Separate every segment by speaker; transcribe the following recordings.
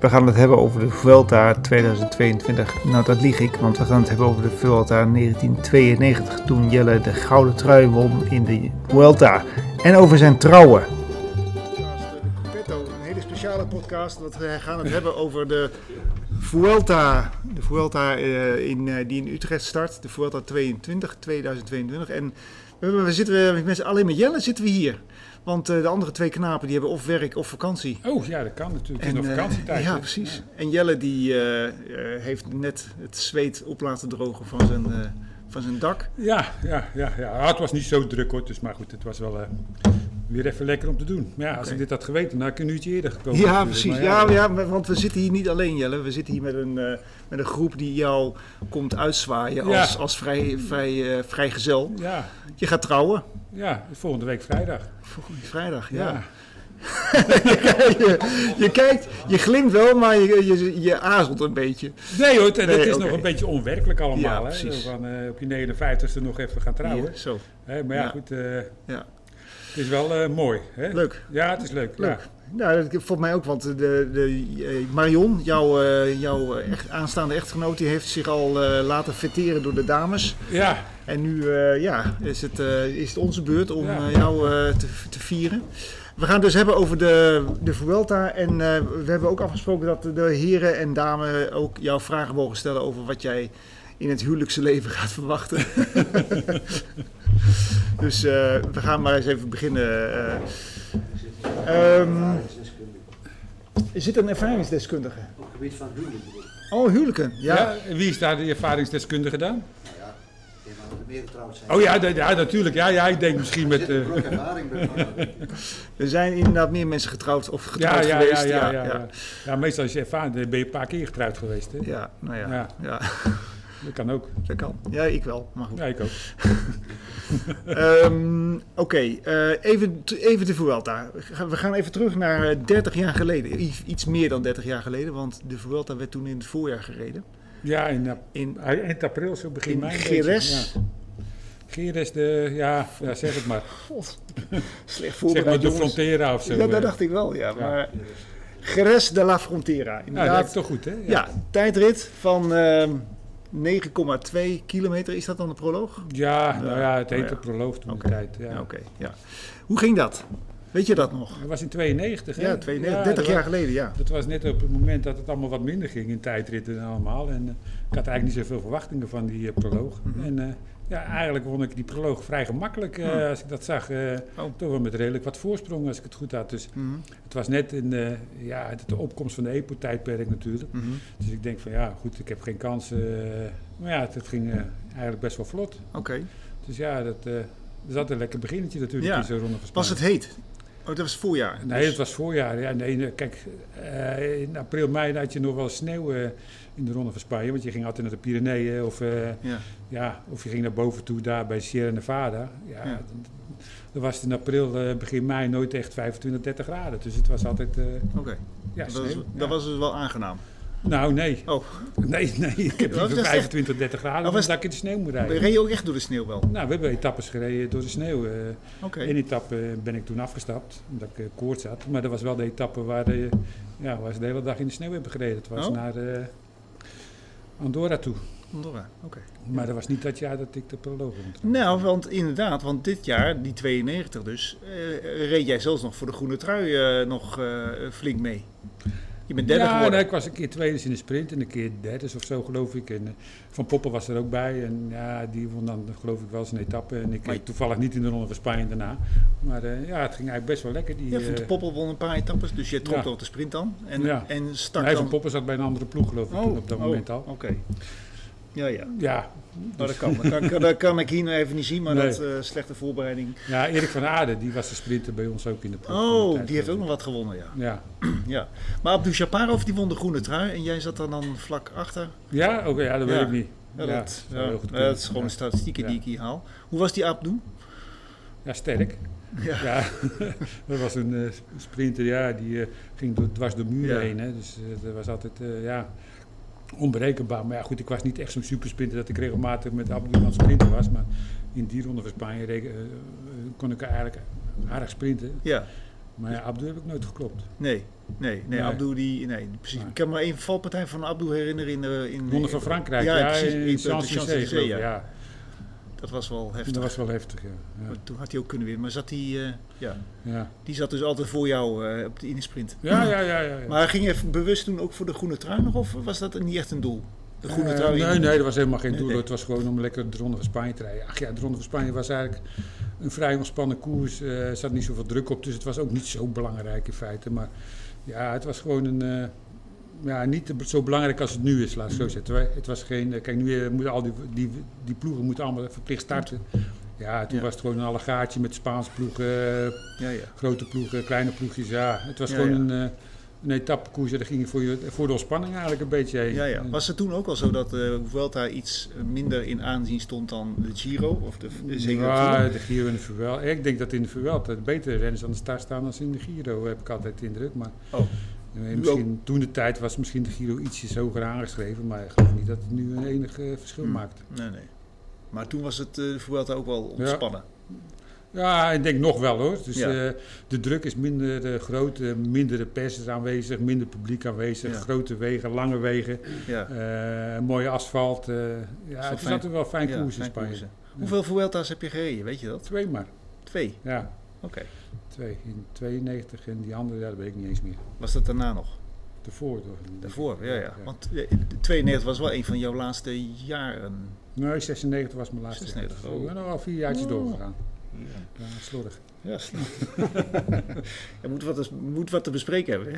Speaker 1: We gaan het hebben over de Vuelta 2022. Nou, dat lieg ik, want we gaan het hebben over de Vuelta 1992. Toen Jelle de gouden trui won in de Vuelta. En over zijn trouwen.
Speaker 2: podcast, eh, de Petto, een hele speciale podcast. Want eh, we gaan het hebben over de Vuelta. De Vuelta eh, in, eh, die in Utrecht start. De Vuelta 22, 2022. En we, hebben- we zitten eh, met mensen, alleen met Jelle zitten we hier. Want eh, de andere twee knapen die hebben of werk of vakantie.
Speaker 3: Oh ja, dat kan natuurlijk. Het is nog
Speaker 2: eh,
Speaker 3: vakantietijd.
Speaker 2: ja,
Speaker 3: hè?
Speaker 2: precies. En Jelle die eh, eh, heeft net het zweet op laten drogen van zijn, eh, van zijn dak.
Speaker 3: Ja, ja, ja, ja. Ah, het was niet zo druk hoor, dus, maar goed, het was wel eh, weer even lekker om te doen. Maar ja, als
Speaker 2: Oké.
Speaker 3: ik dit had geweten, dan had ik een uurtje eerder gekomen.
Speaker 2: Ja,
Speaker 3: natuurlijk.
Speaker 2: precies.
Speaker 3: Maar
Speaker 2: Ja, ja, maar- want we zitten hier niet alleen, Jelle. We zitten hier met een, eh, met een groep die jou komt uitzwaaien
Speaker 3: Ja.
Speaker 2: als, als vrij, vrij, eh, vrijgezel.
Speaker 3: ja,
Speaker 2: Je gaat trouwen.
Speaker 3: ja, volgende week vrijdag.
Speaker 2: Volgende vrijdag, ja.
Speaker 3: Ja.
Speaker 2: je, je kijkt, je glimt wel, maar je, je, je aarzelt een beetje.
Speaker 3: Nee hoor, het, het
Speaker 2: Nee,
Speaker 3: is
Speaker 2: oké.
Speaker 3: nog een beetje onwerkelijk allemaal.
Speaker 2: Ja,
Speaker 3: hè?
Speaker 2: precies.
Speaker 3: Zo Van, eh, op je 59ste nog even gaan trouwen.
Speaker 2: Hier, zo,
Speaker 3: Hè, maar ja,
Speaker 2: Ja.
Speaker 3: goed, eh,
Speaker 2: ja.
Speaker 3: het is wel eh, mooi. Hè?
Speaker 2: Leuk.
Speaker 3: Ja, het is leuk.
Speaker 2: Leuk.
Speaker 3: Ja.
Speaker 2: Nou, dat volgens mij ook, want de, de, eh, Marion, jouw, eh, jouw eh, echt, aanstaande echtgenoot, die heeft zich al eh, laten vetteren door de dames.
Speaker 3: ja,
Speaker 2: En nu eh, ja, is, het, eh, is het onze beurt om
Speaker 3: Ja.
Speaker 2: eh, jou eh, te, te vieren. We gaan het dus hebben over de, de Vuelta. En eh, we hebben ook afgesproken dat de heren en dames ook jou vragen mogen stellen over wat jij in het huwelijkse leven gaat verwachten. dus eh, we gaan maar eens even beginnen. eh. Ehm, er zit een ervaringsdeskundige.
Speaker 4: Op het gebied van huwelijk bedoel ik.
Speaker 2: Oh, huwelijken.
Speaker 3: ja.
Speaker 2: Ja.
Speaker 3: En Wie is daar de ervaringsdeskundige dan?
Speaker 4: Nou Ik denk dat we meer getrouwd zijn.
Speaker 3: Oh ja, de- ja natuurlijk. Ja, ja, ik denk misschien
Speaker 4: Er
Speaker 3: met...
Speaker 4: zit een
Speaker 3: eh,
Speaker 4: brok ervaring bij elkaar.
Speaker 2: Er zijn inderdaad meer mensen getrouwd of
Speaker 3: Ja,
Speaker 2: getrouwd
Speaker 3: ja, ja,
Speaker 2: geweest.
Speaker 3: ja, ja, ja. Ja, meestal als je ervaren bent, ben je een paar keer getrouwd geweest. Hè?
Speaker 2: Ja, nou ja.
Speaker 3: Ja.
Speaker 2: ja.
Speaker 3: Dat kan ook.
Speaker 2: Dat kan. Ja, ik wel. Maar goed.
Speaker 3: Ja, ik ook.
Speaker 2: Ehm, Oké, eh, even, even de Vuelta. We gaan even terug naar eh, 30 jaar geleden. I- Iets meer dan 30 jaar geleden, want de Vuelta werd toen in het voorjaar gereden.
Speaker 3: Ja, in, eh,
Speaker 2: In,
Speaker 3: eind april, zo begin
Speaker 2: in
Speaker 3: mei. een
Speaker 2: Geres.
Speaker 3: beetje, ja. Geres, de, ja, ja, zeg het maar.
Speaker 2: God, slecht
Speaker 3: Zeg maar
Speaker 2: voorbereid,
Speaker 3: de
Speaker 2: jongens.
Speaker 3: Frontera of zo.
Speaker 2: Ja, dat
Speaker 3: eh.
Speaker 2: dacht ik wel, ja. Maar Geres de la Frontera,
Speaker 3: Nou, dat
Speaker 2: inderdaad.
Speaker 3: is toch goed, hè?
Speaker 2: ja. tijdrit van ehm, 9,2 kilometer. Is dat dan de proloog?
Speaker 3: Ja, nou ja, het
Speaker 2: Nou ja.
Speaker 3: heette proloog toen
Speaker 2: Oké.
Speaker 3: de tijd.
Speaker 2: Ja,
Speaker 3: Ja.
Speaker 2: Oké, ja. Hoe ging dat? Weet je dat nog?
Speaker 3: Dat was in 92, hè?
Speaker 2: Ja, 32,
Speaker 3: Ja,
Speaker 2: 30
Speaker 3: dat
Speaker 2: jaar
Speaker 3: was-
Speaker 2: geleden, ja.
Speaker 3: Dat was net op het moment dat het allemaal wat minder ging in tijdritten en allemaal. En eh, ik had eigenlijk niet zoveel verwachtingen van die eh, proloog.
Speaker 2: Mhm.
Speaker 3: En eh, ja, eigenlijk won ik die proloog vrij gemakkelijk eh, als ik dat zag. eh,
Speaker 2: Mhm. Oh.
Speaker 3: Toch wel met redelijk wat voorsprong als ik het goed had. Dus
Speaker 2: Mhm,
Speaker 3: het was net in eh, ja, de opkomst van de EPO-tijdperk natuurlijk.
Speaker 2: mhm.
Speaker 3: Dus ik denk van ja, goed, ik heb geen kans. eh, maar ja, het, het ging eh, eigenlijk best wel vlot.
Speaker 2: Oké.
Speaker 3: Dus ja, dat eh, er zat een lekker beginnetje natuurlijk
Speaker 2: Ja.
Speaker 3: in zo'n ronde van
Speaker 2: Was
Speaker 3: Spanje.
Speaker 2: het heet? Oh, dat was voorjaar. Dus-
Speaker 3: Nee, het was voorjaar. Ja, nee, nee, kijk, eh, in april, mei had je nog wel sneeuw eh, in de Ronde van Spanje. Want je ging altijd naar de Pyreneeën of, eh,
Speaker 2: Ja.
Speaker 3: ja, of je ging naar boven toe daar bij Sierra Nevada. Ja,
Speaker 2: Ja.
Speaker 3: d- Dan was het in april, eh, begin mei, nooit echt 25, 30 graden. Dus het was altijd eh,
Speaker 2: Oké.
Speaker 3: ja,
Speaker 2: Dat,
Speaker 3: sneeuw.
Speaker 2: was, dat
Speaker 3: Ja.
Speaker 2: was dus wel aangenaam.
Speaker 3: Nou, nee.
Speaker 2: Oh,
Speaker 3: Nee, nee. Ik heb
Speaker 2: Dat was
Speaker 3: liever
Speaker 2: echt-
Speaker 3: 25, 30 graden
Speaker 2: Dat
Speaker 3: dan
Speaker 2: was-
Speaker 3: dat ik in de sneeuw moet
Speaker 2: we
Speaker 3: rijden.
Speaker 2: reden ook echt door de sneeuw wel. Oké.
Speaker 3: Nou, we hebben etappes gereden door de sneeuw. eh. Eén etappe eh, ben ik toen afgestapt, omdat ik eh, koorts had. Maar dat was wel de etappe waar, eh, ja, waar ze de hele dag in de sneeuw hebben gereden. Het was
Speaker 2: Oh.
Speaker 3: naar eh, Andorra toe.
Speaker 2: Andorra. Oké.
Speaker 3: Maar dat was niet dat jaar dat ik de proloog rond.
Speaker 2: Nou, want inderdaad, want dit jaar, die 92 dus, eh, reed jij zelfs nog voor de groene trui eh, nog eh, flink mee. Je bent derde
Speaker 3: Ja, nou,
Speaker 2: geworden.
Speaker 3: nee, ik was een keer tweede in de sprint en een keer derde of zo, geloof ik. En eh, Van Poppen was er ook bij. En ja, die won dan, geloof ik, wel zijn etappe. En ik
Speaker 2: Maar-
Speaker 3: eh, toevallig niet in de Ronde van Spanje daarna. Maar eh, ja, het ging eigenlijk best wel lekker. Die,
Speaker 2: Ja, Van de
Speaker 3: eh,
Speaker 2: Poppel won een paar etappes, dus je trok
Speaker 3: Ja.
Speaker 2: door de sprint dan. En,
Speaker 3: Ja.
Speaker 2: en stak
Speaker 3: nee,
Speaker 2: dan...
Speaker 3: Van Poppen zat bij een andere ploeg, geloof ik, toen op dat
Speaker 2: oh,
Speaker 3: moment al.
Speaker 2: Oké. Ja, ja.
Speaker 3: Ja,
Speaker 2: Nou, dat kan. Dat kan, dat kan ik hier nou even niet zien, maar
Speaker 3: Nee.
Speaker 2: dat eh, slechte voorbereiding.
Speaker 3: ja, Erik van Aarden, die was de sprinter bij ons ook in de ploeg. toen de
Speaker 2: Oh,
Speaker 3: tijd,
Speaker 2: die heeft ook
Speaker 3: geloof
Speaker 2: nog wat gewonnen, ja.
Speaker 3: ik. Ja,
Speaker 2: Ja, maar Abdou Shaparov die won de groene trui en jij zat dan, dan vlak achter.
Speaker 3: Ja, oké, ja, dat
Speaker 2: Ja.
Speaker 3: weet ik niet.
Speaker 2: Ja,
Speaker 3: Ja,
Speaker 2: dat,
Speaker 3: zou
Speaker 2: ja,
Speaker 3: heel goed
Speaker 2: dat
Speaker 3: kunnen.
Speaker 2: is gewoon de
Speaker 3: ja.
Speaker 2: statistieken die
Speaker 3: Ja.
Speaker 2: ik hier haal. Hoe was die Abdou?
Speaker 3: Ja, sterk.
Speaker 2: Ja.
Speaker 3: Ja. dat was een eh, sprinter, ja, die eh, ging door, dwars door muren
Speaker 2: Ja.
Speaker 3: heen. Hè, dus eh, dat was altijd, eh, ja, onberekenbaar. Maar ja, goed, ik was niet echt zo'n supersprinter dat ik regelmatig met Abdul aan het sprinten was. Maar in die ronde van Spanje reken- eh, eh, kon ik eigenlijk aardig sprinten.
Speaker 2: Ja,
Speaker 3: Maar ja, Abdul heb ik nooit geklopt.
Speaker 2: nee. Nee, nee,
Speaker 3: Nee.
Speaker 2: Abdu die, nee, precies. Ik kan me één valpartij van Abdu herinneren in de... In,
Speaker 3: Ronde van Frankrijk,
Speaker 2: Ja,
Speaker 3: ja,
Speaker 2: precies, in
Speaker 3: in,
Speaker 2: de Champs-Élysées,
Speaker 3: Champs-Élysées.
Speaker 2: ja.
Speaker 3: Ja.
Speaker 2: Dat was wel heftig.
Speaker 3: dat was wel heftig, ja. Ja,
Speaker 2: Maar Toen had hij ook kunnen winnen, maar zat hij, eh, ja,
Speaker 3: ja.
Speaker 2: die zat dus altijd voor jou eh, op de, in de sprint.
Speaker 3: ja, ja, ja, ja, ja.
Speaker 2: Maar ging je even bewust doen ook voor de groene trui nog, of was dat niet echt een doel? De groene
Speaker 3: Eh,
Speaker 2: trui?
Speaker 3: nee, nee, dat was helemaal geen
Speaker 2: Nee,
Speaker 3: doel.
Speaker 2: nee.
Speaker 3: Het was gewoon om lekker de Ronde van Spanje te rijden. Ach ja, de Ronde van Spanje was eigenlijk een vrij ontspannen koers. Eh, Er zat niet zoveel druk op, dus het was ook niet zo belangrijk in feite. Maar ja, het was gewoon een... eh, ja, niet te- zo belangrijk als het nu is, laat ik het
Speaker 2: Mm.
Speaker 3: zo zetten. Wij- Het was geen... eh, Kijk, nu eh, moeten al die, die, die ploegen moeten allemaal verplicht starten. Ja, toen
Speaker 2: Ja.
Speaker 3: was het gewoon een allegaatje met Spaanse ploegen, eh,
Speaker 2: Ja, ja.
Speaker 3: grote ploegen, kleine ploegjes. Ja, het was
Speaker 2: Ja,
Speaker 3: gewoon
Speaker 2: ja.
Speaker 3: een... eh een etappekoers, en daar ging je voor, je voor de ontspanning eigenlijk een beetje heen.
Speaker 2: Ja, ja.
Speaker 3: En-
Speaker 2: Was het toen ook al zo dat eh Vuelta iets minder in aanzien stond dan de Giro? Of de, de zeker de Giro?
Speaker 3: Ja, de Giro en de Vuelta. Ik denk dat in de Vuelta betere renners aan de start staan dan in de Giro, heb ik altijd de indruk. Maar
Speaker 2: Oh.
Speaker 3: eh, misschien, toen de tijd was misschien de Giro ietsjes hoger aangeschreven, maar ik geloof niet dat het nu een enig eh, verschil
Speaker 2: Hmm.
Speaker 3: maakt.
Speaker 2: Nee, nee. Maar toen was het eh, de Vuelta ook wel ontspannen.
Speaker 3: Ja, ik denk nog wel hoor. Dus
Speaker 2: Ja.
Speaker 3: eh, de druk is minder eh, groot, eh, minder de pers is aanwezig, minder publiek aanwezig,
Speaker 2: Ja.
Speaker 3: grote wegen, lange wegen,
Speaker 2: Ja.
Speaker 3: eh, mooie asfalt. eh, ja, het is
Speaker 2: fijn.
Speaker 3: altijd wel een fijn
Speaker 2: Ja,
Speaker 3: koers in
Speaker 2: fijn
Speaker 3: Spanje.
Speaker 2: koersen. Hoeveel Vuelta's heb je gereden, weet je dat?
Speaker 3: Twee maar,
Speaker 2: Twee.
Speaker 3: ja.
Speaker 2: Oké.
Speaker 3: Twee in 92 en die andere, ja, dat weet ik niet eens meer.
Speaker 2: Was dat daarna nog?
Speaker 3: Daarvoor toch?
Speaker 2: Daarvoor, ja, ja.
Speaker 3: Ja.
Speaker 2: Want eh, 92 was wel een van jouw laatste jaren.
Speaker 3: Nee, 96 was mijn laatste.
Speaker 2: 96,
Speaker 3: jaar.
Speaker 2: oh.
Speaker 3: Ik ben nog wel vier jaartjes
Speaker 2: Oh.
Speaker 3: doorgegaan. Ja, slordig.
Speaker 2: Ja, er moet wat, moet wat te bespreken hebben. hè?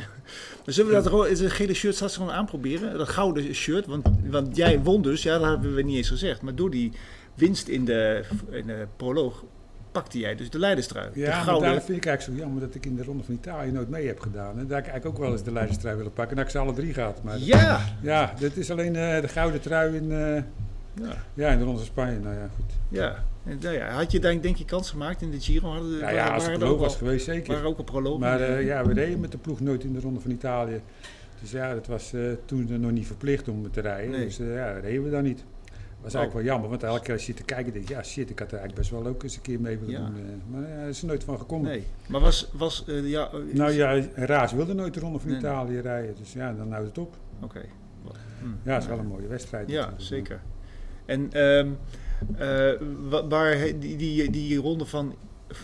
Speaker 2: Maar zullen we dat gewoon, het gele shirt straks gewoon aanproberen? Dat gouden shirt, want, want jij won dus, ja, dat hebben we niet eens gezegd. Maar door die winst in de, in de proloog pakte jij dus de leiderstrui. de
Speaker 3: Ja, maar
Speaker 2: gouden.
Speaker 3: daar vind ik eigenlijk zo jammer dat ik in de Ronde van Italië nooit mee heb gedaan. En daar heb ik eigenlijk ook wel eens de leiderstrui willen pakken. En dat ik ze alle drie gehad. Maar ja.
Speaker 2: Ja!
Speaker 3: dat is alleen eh, de gouden trui in, eh,
Speaker 2: Ja,
Speaker 3: ja, in de Ronde van Spanje. Nou ja, goed.
Speaker 2: ja. En, nou ja, had je denk, denk je kans gemaakt in de Giro? Hadden,
Speaker 3: Ja, ja als
Speaker 2: waren
Speaker 3: het
Speaker 2: er
Speaker 3: proloog
Speaker 2: ook
Speaker 3: was
Speaker 2: al-
Speaker 3: geweest, zeker.
Speaker 2: waren ook een proloog.
Speaker 3: Maar eh, ja, we reden met de ploeg nooit in de Ronde van Italië. Dus ja, dat was eh, toen eh, nog niet verplicht om te rijden.
Speaker 2: Nee.
Speaker 3: Dus eh, ja, reden we daar niet. was
Speaker 2: Oh.
Speaker 3: eigenlijk wel jammer, want elke keer als je zit te kijken, denk je, ja shit, ik had er eigenlijk best wel ook eens een keer mee willen
Speaker 2: Ja.
Speaker 3: doen. eh. maar ja, er is er nooit van gekomen.
Speaker 2: nee. maar was, was eh, ja, eh,
Speaker 3: Nou ja, Raas wilde nooit de Ronde van
Speaker 2: Nee.
Speaker 3: Italië rijden, dus ja, dan houdt het op.
Speaker 2: Oké. Hm.
Speaker 3: Ja, het is wel een mooie wedstrijd.
Speaker 2: Ja,
Speaker 3: natuurlijk.
Speaker 2: zeker. En ehm, eh, wa- waar he- die, die, die ronde van,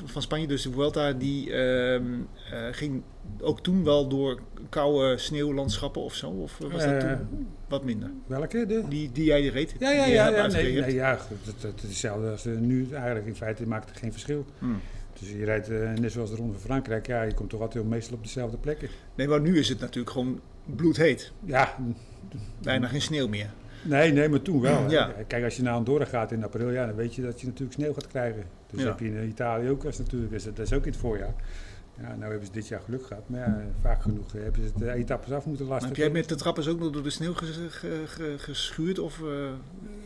Speaker 2: van Spanje, dus de Vuelta, die ehm, eh, ging ook toen wel door koude sneeuwlandschappen of zo? Of was dat
Speaker 3: Eh,
Speaker 2: toen wat minder?
Speaker 3: Welke? De?
Speaker 2: Die, die jij reed?
Speaker 3: Ja, ja,
Speaker 2: Die
Speaker 3: ja,
Speaker 2: jij
Speaker 3: ja, nee,
Speaker 2: uitgereden
Speaker 3: nee,
Speaker 2: hebt?
Speaker 3: ja goed, dat, dat is hetzelfde als eh, nu eigenlijk. In feite maakt het geen verschil.
Speaker 2: Hmm.
Speaker 3: Dus je rijdt eh, net zoals de Ronde van Frankrijk, ja, je komt toch altijd meestal op dezelfde plekken.
Speaker 2: Nee, maar nu is het natuurlijk gewoon bloedheet.
Speaker 3: Ja,
Speaker 2: Bijna geen sneeuw meer.
Speaker 3: nee, nee, maar toen wel. hè.
Speaker 2: Ja.
Speaker 3: Kijk, als je naar Andorra gaat in april, ja, dan weet je dat je natuurlijk sneeuw gaat krijgen. Dus
Speaker 2: Ja.
Speaker 3: heb je in Italië ook als natuurlijk, dus dat is ook in het voorjaar. Ja, nou hebben ze dit jaar geluk gehad, maar ja, vaak genoeg eh, hebben ze de etappes af moeten
Speaker 2: Maar
Speaker 3: lasten.
Speaker 2: heb jij met de trappers ook nog door de sneeuw ges- ge- ge- geschuurd? Of eh,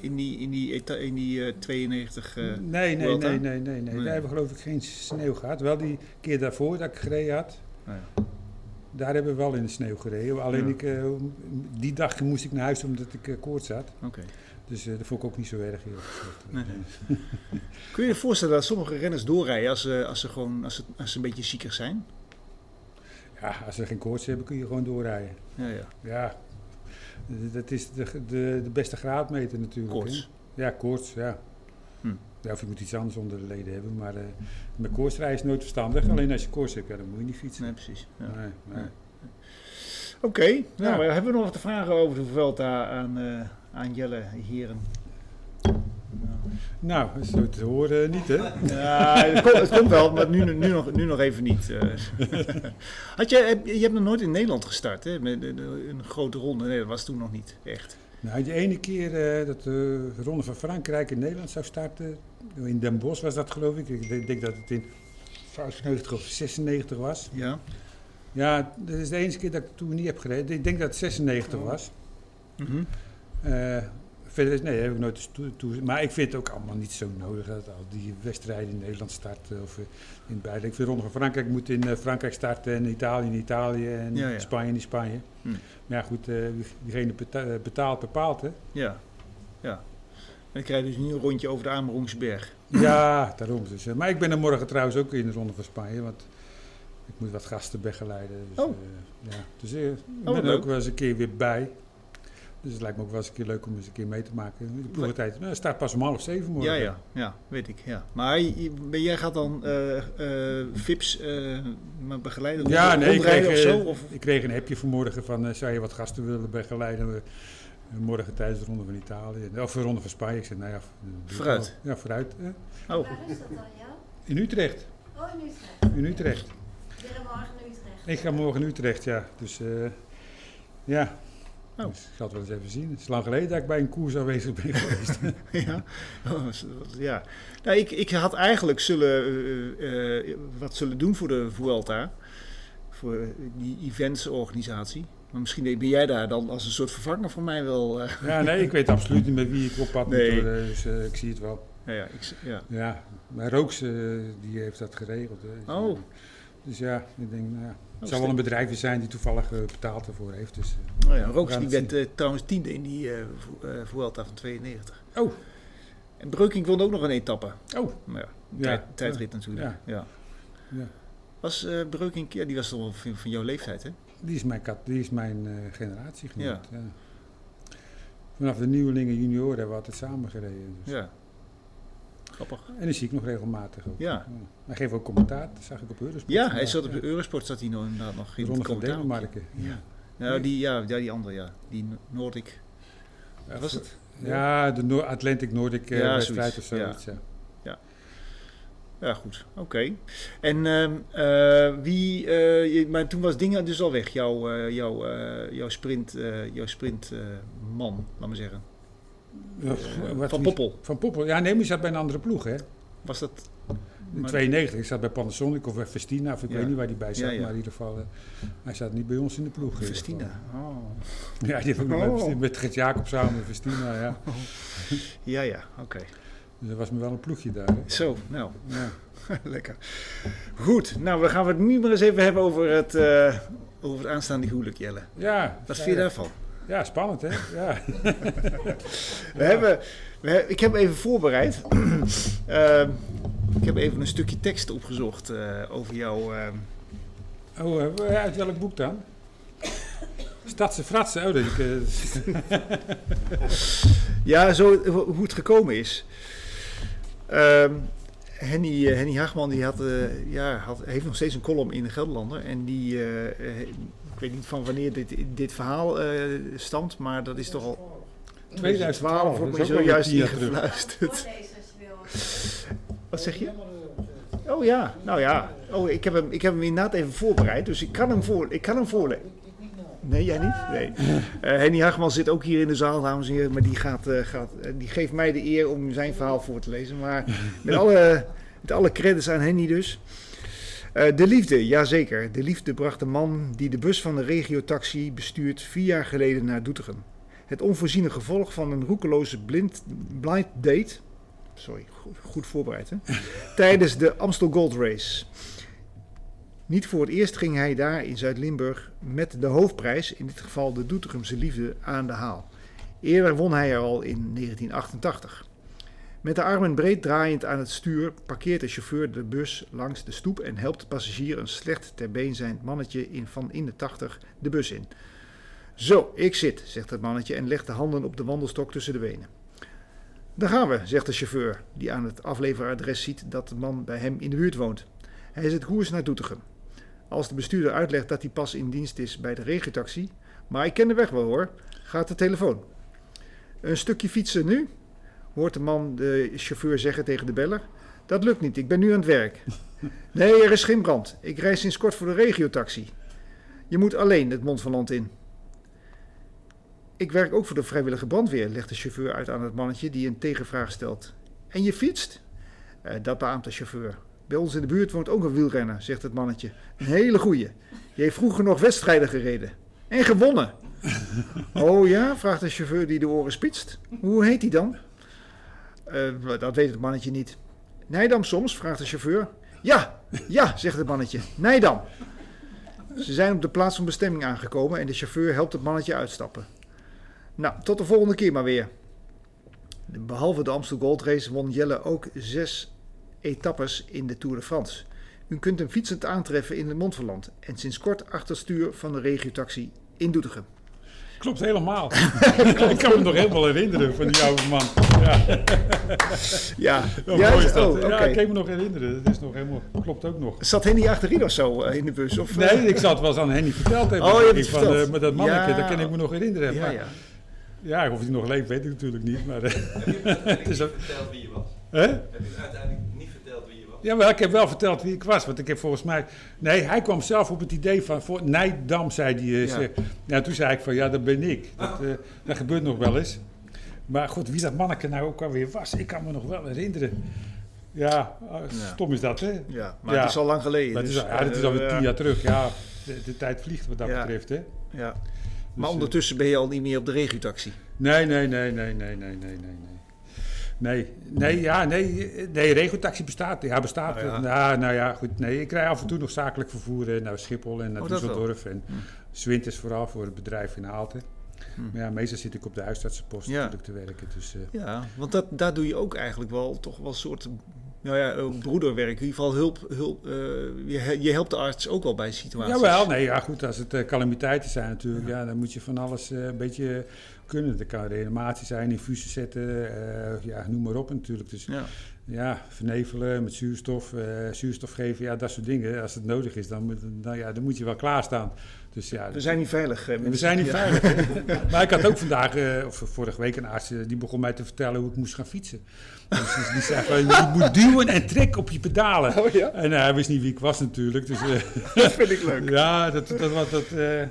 Speaker 2: in die, in die, eta- in die eh, 92? eh,
Speaker 3: nee, nee,
Speaker 2: Vuelta?
Speaker 3: nee, nee, nee, nee.
Speaker 2: Nee.
Speaker 3: Daar hebben we geloof ik geen sneeuw gehad. Wel die keer daarvoor dat ik gereden had.
Speaker 2: Ah,
Speaker 3: Daar hebben we wel in de sneeuw gereden. Alleen
Speaker 2: Ja.
Speaker 3: ik, eh, die dag moest ik naar huis omdat ik eh, koorts had.
Speaker 2: Oké.
Speaker 3: Dus eh, dat vond ik ook niet zo erg. eerlijk gezegd.
Speaker 2: Nee. Kun je je voorstellen dat sommige renners doorrijden als ze, als ze, gewoon, als ze, als ze een beetje zieker zijn?
Speaker 3: Ja, als ze geen koorts hebben kun je gewoon doorrijden.
Speaker 2: Ja, ja.
Speaker 3: Ja, d- dat is de, de, de beste graadmeter natuurlijk.
Speaker 2: Koorts.
Speaker 3: hè. Ja, koorts, ja.
Speaker 2: Hm.
Speaker 3: ja. Of je moet iets anders onder de leden hebben, maar eh met koortsrijden is nooit verstandig. Alleen als je koorts hebt, ja, dan moet je niet fietsen.
Speaker 2: Nee, precies. Ja.
Speaker 3: Nee, nee.
Speaker 2: Oké, nou eh, hebben we nog wat te vragen over de Vuelta aan, eh, aan Jelle Heren?
Speaker 3: Nou, zo te horen eh, niet, hè?
Speaker 2: Ja, het, komt, het komt wel, maar nu, nu, nog, nu nog even niet. eh. Had je, heb- je hebt nog nooit in Nederland gestart, hè? Met een- een grote ronde. Nee, dat was toen nog niet echt.
Speaker 3: Nou, die ene keer eh, dat de Ronde van Frankrijk in Nederland zou starten, in Den Bosch was dat geloof ik. Ik denk, denk dat het in 95 of 96 was.
Speaker 2: Ja,
Speaker 3: Ja, dat is de enige keer dat ik toen niet heb gereden. Ik denk dat het 96 was.
Speaker 2: Mhm.
Speaker 3: Eh, verder is, nee, heb ik nooit eens toe, toe- Maar ik vind het ook allemaal niet zo nodig dat al die wedstrijden in Nederland starten. Of eh, in het buitenland. Ik vind Ronde van Frankrijk moet in eh, Frankrijk starten en Italië in Italië en
Speaker 2: Ja, ja.
Speaker 3: Spanje in Spanje.
Speaker 2: Hm.
Speaker 3: Maar ja, goed, eh, wie- diegene beta- eh, betaalt bepaalt, hè.
Speaker 2: ja, ja. En dan krijg je dus nu een rondje over de Amerungsberg.
Speaker 3: Ja, daarom. Dus, eh, maar ik ben er morgen trouwens ook in de Ronde van Spanje. Want Ik moet wat gasten begeleiden. Dus,
Speaker 2: Oh.
Speaker 3: eh, ja. dus eh, ik
Speaker 2: wat
Speaker 3: ben er
Speaker 2: leuk.
Speaker 3: ook wel eens een keer weer bij. Dus het lijkt me ook wel eens een keer leuk om eens een keer mee te maken. De proeftijd nou, het staat pas om half zeven morgen.
Speaker 2: Ja, ja, ja, weet ik. Ja. Maar je- ben jij gaat dan eh, eh, VIP's eh, maar begeleiden?
Speaker 3: Ja, nee, ik kreeg,
Speaker 2: rondrijden of zo?
Speaker 3: eh,
Speaker 2: Of,
Speaker 3: ik kreeg een appje vanmorgen van, eh, zou je wat gasten willen begeleiden? We- morgen tijdens de Ronde van Italië, of de Ronde van Spanje. Ik zei, nou ja, v- doe ik
Speaker 2: Vooruit.
Speaker 3: wel. Ja, vooruit. eh.
Speaker 2: Oh.
Speaker 5: Waar is dat dan, ja?
Speaker 3: In Utrecht,
Speaker 5: Oh, in Utrecht.
Speaker 3: in Utrecht.
Speaker 5: Iedere morgen in Utrecht.
Speaker 3: Ik ga morgen in Utrecht, ja. Dus eh, ja,
Speaker 2: Oh.
Speaker 3: dus ik zal het wel eens even zien. Het is lang geleden dat ik bij een koers aanwezig ben geweest.
Speaker 2: ja. Oh, dat is- dat is- ja. Nou, ik, ik had eigenlijk zullen, eh, eh, wat zullen doen voor de Vuelta. Voor eh, die eventsorganisatie. Maar misschien ben jij daar dan als een soort vervanger van mij wel. eh,
Speaker 3: ja, nee, ik weet absoluut niet met wie ik op pad
Speaker 2: Nee.
Speaker 3: moet worden, dus eh, ik zie het wel.
Speaker 2: nou ja, ik, ja.
Speaker 3: Ja, maar Rooks, eh, die heeft dat geregeld. hè.
Speaker 2: Oh.
Speaker 3: Dus ja, ik denk, nou ja.
Speaker 2: Oh,
Speaker 3: Het zou wel
Speaker 2: stik.
Speaker 3: een bedrijf zijn die toevallig eh, betaald ervoor heeft. Dus, eh.
Speaker 2: Nou ja, Rooks
Speaker 3: Ja,
Speaker 2: die
Speaker 3: dat
Speaker 2: werd eh, trouwens tiende in die eh, Vu- eh, Vuelta van 92.
Speaker 3: Oh.
Speaker 2: En Breukink wilde ook nog een etappe.
Speaker 3: Oh,
Speaker 2: Maar ja,
Speaker 3: Ja.
Speaker 2: tijd- tijdrit natuurlijk. Ja.
Speaker 3: Ja. Ja.
Speaker 2: Was eh Breukink, ja, die was toch wel van, van jouw leeftijd, hè?
Speaker 3: die is mijn, kat, die is mijn eh generatie
Speaker 2: Ja.
Speaker 3: genoemd. Ja. Vanaf de nieuwelingen junioren hebben we altijd samen gereden. Dus.
Speaker 2: Ja. Grappig.
Speaker 3: En die zie ik nog regelmatig ook.
Speaker 2: Ja.
Speaker 3: Hij geeft ook commentaar, dat zag ik op Eurosport.
Speaker 2: Ja, hij zat op
Speaker 3: de
Speaker 2: Eurosport, zat hij nog inderdaad nog in
Speaker 3: Ronde
Speaker 2: het
Speaker 3: van
Speaker 2: commentaar.
Speaker 3: Denemarken.
Speaker 2: Ja. Nou, die, ja, ja, die andere, ja. Die No- Nordic. Wat was het?
Speaker 3: Ja, de Noor- Atlantic Nordic eh,
Speaker 2: Ja,
Speaker 3: wedstrijd of
Speaker 2: zoiets, ja.
Speaker 3: zoiets. Ja.
Speaker 2: Ja, goed. Oké. En ehm, eh, wie... eh, je- maar toen was Dinga dus al weg, jouw, eh, jouw, eh, jouw sprint, eh, jouw sprint, eh, man, laat maar zeggen.
Speaker 3: Eh, wat
Speaker 2: van
Speaker 3: wie-
Speaker 2: Poppel.
Speaker 3: Van Poppel. Ja, nee, maar je zat bij een andere ploeg, hè?
Speaker 2: Was dat...
Speaker 3: In
Speaker 2: Maar-
Speaker 3: 92, ik zat bij Panasonic of bij Festina, of ik
Speaker 2: Ja.
Speaker 3: weet niet waar die bij zat,
Speaker 2: Ja, ja.
Speaker 3: maar in ieder geval, eh, hij zat niet bij ons in de ploeg. in ieder geval.
Speaker 2: Christina. Oh.
Speaker 3: Ja, die heb ik nog
Speaker 2: Oh.
Speaker 3: met Festina- met Gert Jacob samen, met Festina, ja.
Speaker 2: Ja, ja. Oké.
Speaker 3: Dus er was me wel een ploegje daar. Hè.
Speaker 2: Zo, nou.
Speaker 3: Ja.
Speaker 2: Lekker. Goed, nou, we gaan het nu maar eens even hebben over het, eh, over het aanstaande huwelijk, Jelle.
Speaker 3: Ja,
Speaker 2: Wat
Speaker 3: ja,
Speaker 2: vind je
Speaker 3: ja.
Speaker 2: daarvan?
Speaker 3: Ja, spannend, hè? Ja.
Speaker 2: We hebben, we he- ik heb even voorbereid. Ehm, ik heb even een stukje tekst opgezocht eh, over jouw... ehm,
Speaker 3: Oh, eh, uit welk boek dan? Stadse Fratsen, oh, dat ik, eh,
Speaker 2: ja, zo, eh, ho- hoe het gekomen is. Ehm, Henny, eh, Henny Haagman die had, eh, ja, had, heeft nog steeds een column in de Gelderlander. En die, eh, eh, ik weet niet van wanneer dit, dit verhaal eh, stamt, maar dat is toch al
Speaker 3: 2012,
Speaker 2: wordt
Speaker 3: dat
Speaker 2: me
Speaker 3: is ook alweer
Speaker 2: zojuist
Speaker 3: tien jaar terug.
Speaker 2: ingefluisterd.
Speaker 5: Voorlezen als je wil.
Speaker 3: Dus,
Speaker 2: Wat zeg je? Oh ja, nou ja. Oh, ik heb hem, ik heb hem inderdaad even voorbereid, dus ik kan hem, voor, ik kan hem voorlezen. Nee, jij niet? Nee. Eh, Henny Hagman zit ook hier in de zaal, dames en heren. Maar die, gaat, eh, gaat, eh, die geeft mij de eer om zijn verhaal voor te lezen. Maar met alle, met alle credits aan Henny dus. Eh, de liefde, jazeker. De liefde bracht de man die de bus van de regiotaxi bestuurt vier jaar geleden naar Doetinchem. Het onvoorziene gevolg van een roekeloze blind, blind date. Sorry, go- goed voorbereid hè. Tijdens de Amstel Gold Race. Niet voor het eerst ging hij daar in Zuid-Limburg met de hoofdprijs, in dit geval de Doetinchemse Liefde, aan de haal. Eerder won hij er al in 1988. Met de armen breed draaiend aan het stuur parkeert de chauffeur de bus langs de stoep en helpt de passagier een slecht ter been zijnd mannetje in van in de 80 de bus in. Zo, ik zit, zegt het mannetje en legt de handen op de wandelstok tussen de benen. Daar gaan we, zegt de chauffeur, die aan het afleveradres ziet dat de man bij hem in de buurt woont. Hij zet koers naar Doetinchem. Als de bestuurder uitlegt dat hij pas in dienst is bij de regiotaxi, maar ik ken de weg wel hoor, gaat de telefoon. Een stukje fietsen nu, hoort de man de chauffeur zeggen tegen de beller. Dat lukt niet, ik ben nu aan het werk. Nee, er is geen brand. Ik reis sinds kort voor de regiotaxi. Je moet alleen het mond van land in. Ik werk ook voor de vrijwillige brandweer, legt de chauffeur uit aan het mannetje die een tegenvraag stelt. En je fietst? Eh, dat beaamt de chauffeur. Bij ons in de buurt woont ook een wielrenner, zegt het mannetje. Een hele goeie. Die heeft vroeger nog wedstrijden gereden. En gewonnen. oh ja, vraagt de chauffeur die de oren spitst. Hoe heet die dan? "Eh, dat weet het mannetje niet. Nijdam soms, vraagt de chauffeur. Ja, ja, zegt het mannetje. Nijdam. Ze zijn op de plaats van bestemming aangekomen en de chauffeur helpt het mannetje uitstappen. Nou, tot de volgende keer maar weer. Behalve de Amstel Gold Race won Jelle ook zes etappes in de Tour de France. U kunt hem fietsend aantreffen in het Montferland en sinds kort achter het stuur van de regiotaxi in Doetinchem.
Speaker 3: Klopt helemaal. ik kan me nog helemaal herinneren van die oude man. Ja,
Speaker 2: Ja,
Speaker 3: hoe
Speaker 2: ja,
Speaker 3: mooi is dat.
Speaker 2: oh, oké.
Speaker 3: Ja, ik kan me nog herinneren. Dat is nog helemaal, klopt ook nog.
Speaker 2: Zat Henny achterin of zo eh, in de bus? Of,
Speaker 3: Nee, ik zal het wel eens aan Henny verteld hebben.
Speaker 2: Oh, je hebt het
Speaker 3: denk ik, van,
Speaker 2: verteld.
Speaker 3: eh, maar dat mannetje,
Speaker 2: Ja.
Speaker 3: dat kan ik me nog herinneren.
Speaker 2: ja,
Speaker 3: Maar-
Speaker 2: ja.
Speaker 3: ja, of hij nog leeft, weet ik natuurlijk niet. Maar, eh,
Speaker 6: Heb je
Speaker 3: is ook-
Speaker 6: niet verteld wie je was?
Speaker 3: hè?
Speaker 6: Heb je uiteindelijk niet verteld wie je was?
Speaker 3: Ja, maar ik heb wel verteld wie ik was. Want ik heb volgens mij. Nee, hij kwam zelf op het idee van. Voor, Nijdam, zei hij. eh,
Speaker 2: Ja. Oh.
Speaker 3: ze- nou, toen zei ik van ja, dat ben ik. Dat, eh, dat gebeurt nog wel eens. Maar goed, wie dat manneke nou ook alweer was, ik kan me nog wel herinneren. Ja, eh, stom is dat, hè?
Speaker 2: Ja, maar
Speaker 3: Ja.
Speaker 2: het is al lang geleden.
Speaker 3: Dat is,
Speaker 2: dus,
Speaker 3: al- ja, dat is
Speaker 2: eh,
Speaker 3: alweer
Speaker 2: ja.
Speaker 3: tien jaar terug. Ja, de, de tijd vliegt wat dat
Speaker 2: Ja.
Speaker 3: betreft, hè?
Speaker 2: Ja.
Speaker 3: Dus,
Speaker 2: Maar
Speaker 3: eh,
Speaker 2: ondertussen ben je al niet meer op de regiotaxi.
Speaker 3: Nee, nee, nee, nee, nee, nee, nee, nee, nee. Nee, nee, ja, nee, nee, regeltaxi bestaat. Ja, bestaat.
Speaker 2: Oh ja.
Speaker 3: Nou, nou ja, goed. Nee, ik krijg af en toe nog zakelijk vervoer eh, naar Schiphol en naar
Speaker 2: Oh, dat wel.
Speaker 3: Düsseldorf. En Zwint is vooral voor het bedrijf in Aalten. Maar ja, meestal zit ik op de huisartsenpost
Speaker 2: Hm. Ja.
Speaker 3: natuurlijk te werken. Dus, eh,
Speaker 2: Ja, want dat, daar doe je ook eigenlijk wel toch wel een soort nou ja, eh, broederwerk. In ieder geval hulp, hulp eh, je, he- je helpt de arts ook wel bij situaties.
Speaker 3: Jawel, nee, ja goed, als het eh, calamiteiten zijn natuurlijk, ja. dan moet je van alles eh, een beetje eh, kunnen. Er kan reanimatie zijn, infusen zetten, eh, ja, noem maar op natuurlijk. Dus
Speaker 2: Ja.
Speaker 3: Ja, vernevelen met zuurstof, eh, zuurstof geven, ja, dat soort dingen. Als het nodig is, dan moet, dan, nou ja, dan moet je wel klaarstaan. Dus ja,
Speaker 2: We zijn niet veilig. eh,
Speaker 3: we
Speaker 2: mensen.
Speaker 3: zijn niet
Speaker 2: Ja.
Speaker 3: veilig. hè. maar ik had ook vandaag, eh, of vorige week, een arts eh, die begon mij te vertellen hoe ik moest gaan fietsen. Dus die- die zei van, je moet duwen en trekken op je pedalen.
Speaker 2: Oh ja,
Speaker 3: En eh, hij wist niet wie ik was natuurlijk. Dus, eh,
Speaker 2: dat vind ik leuk.
Speaker 3: ja, dat, dat, dat, dat eh,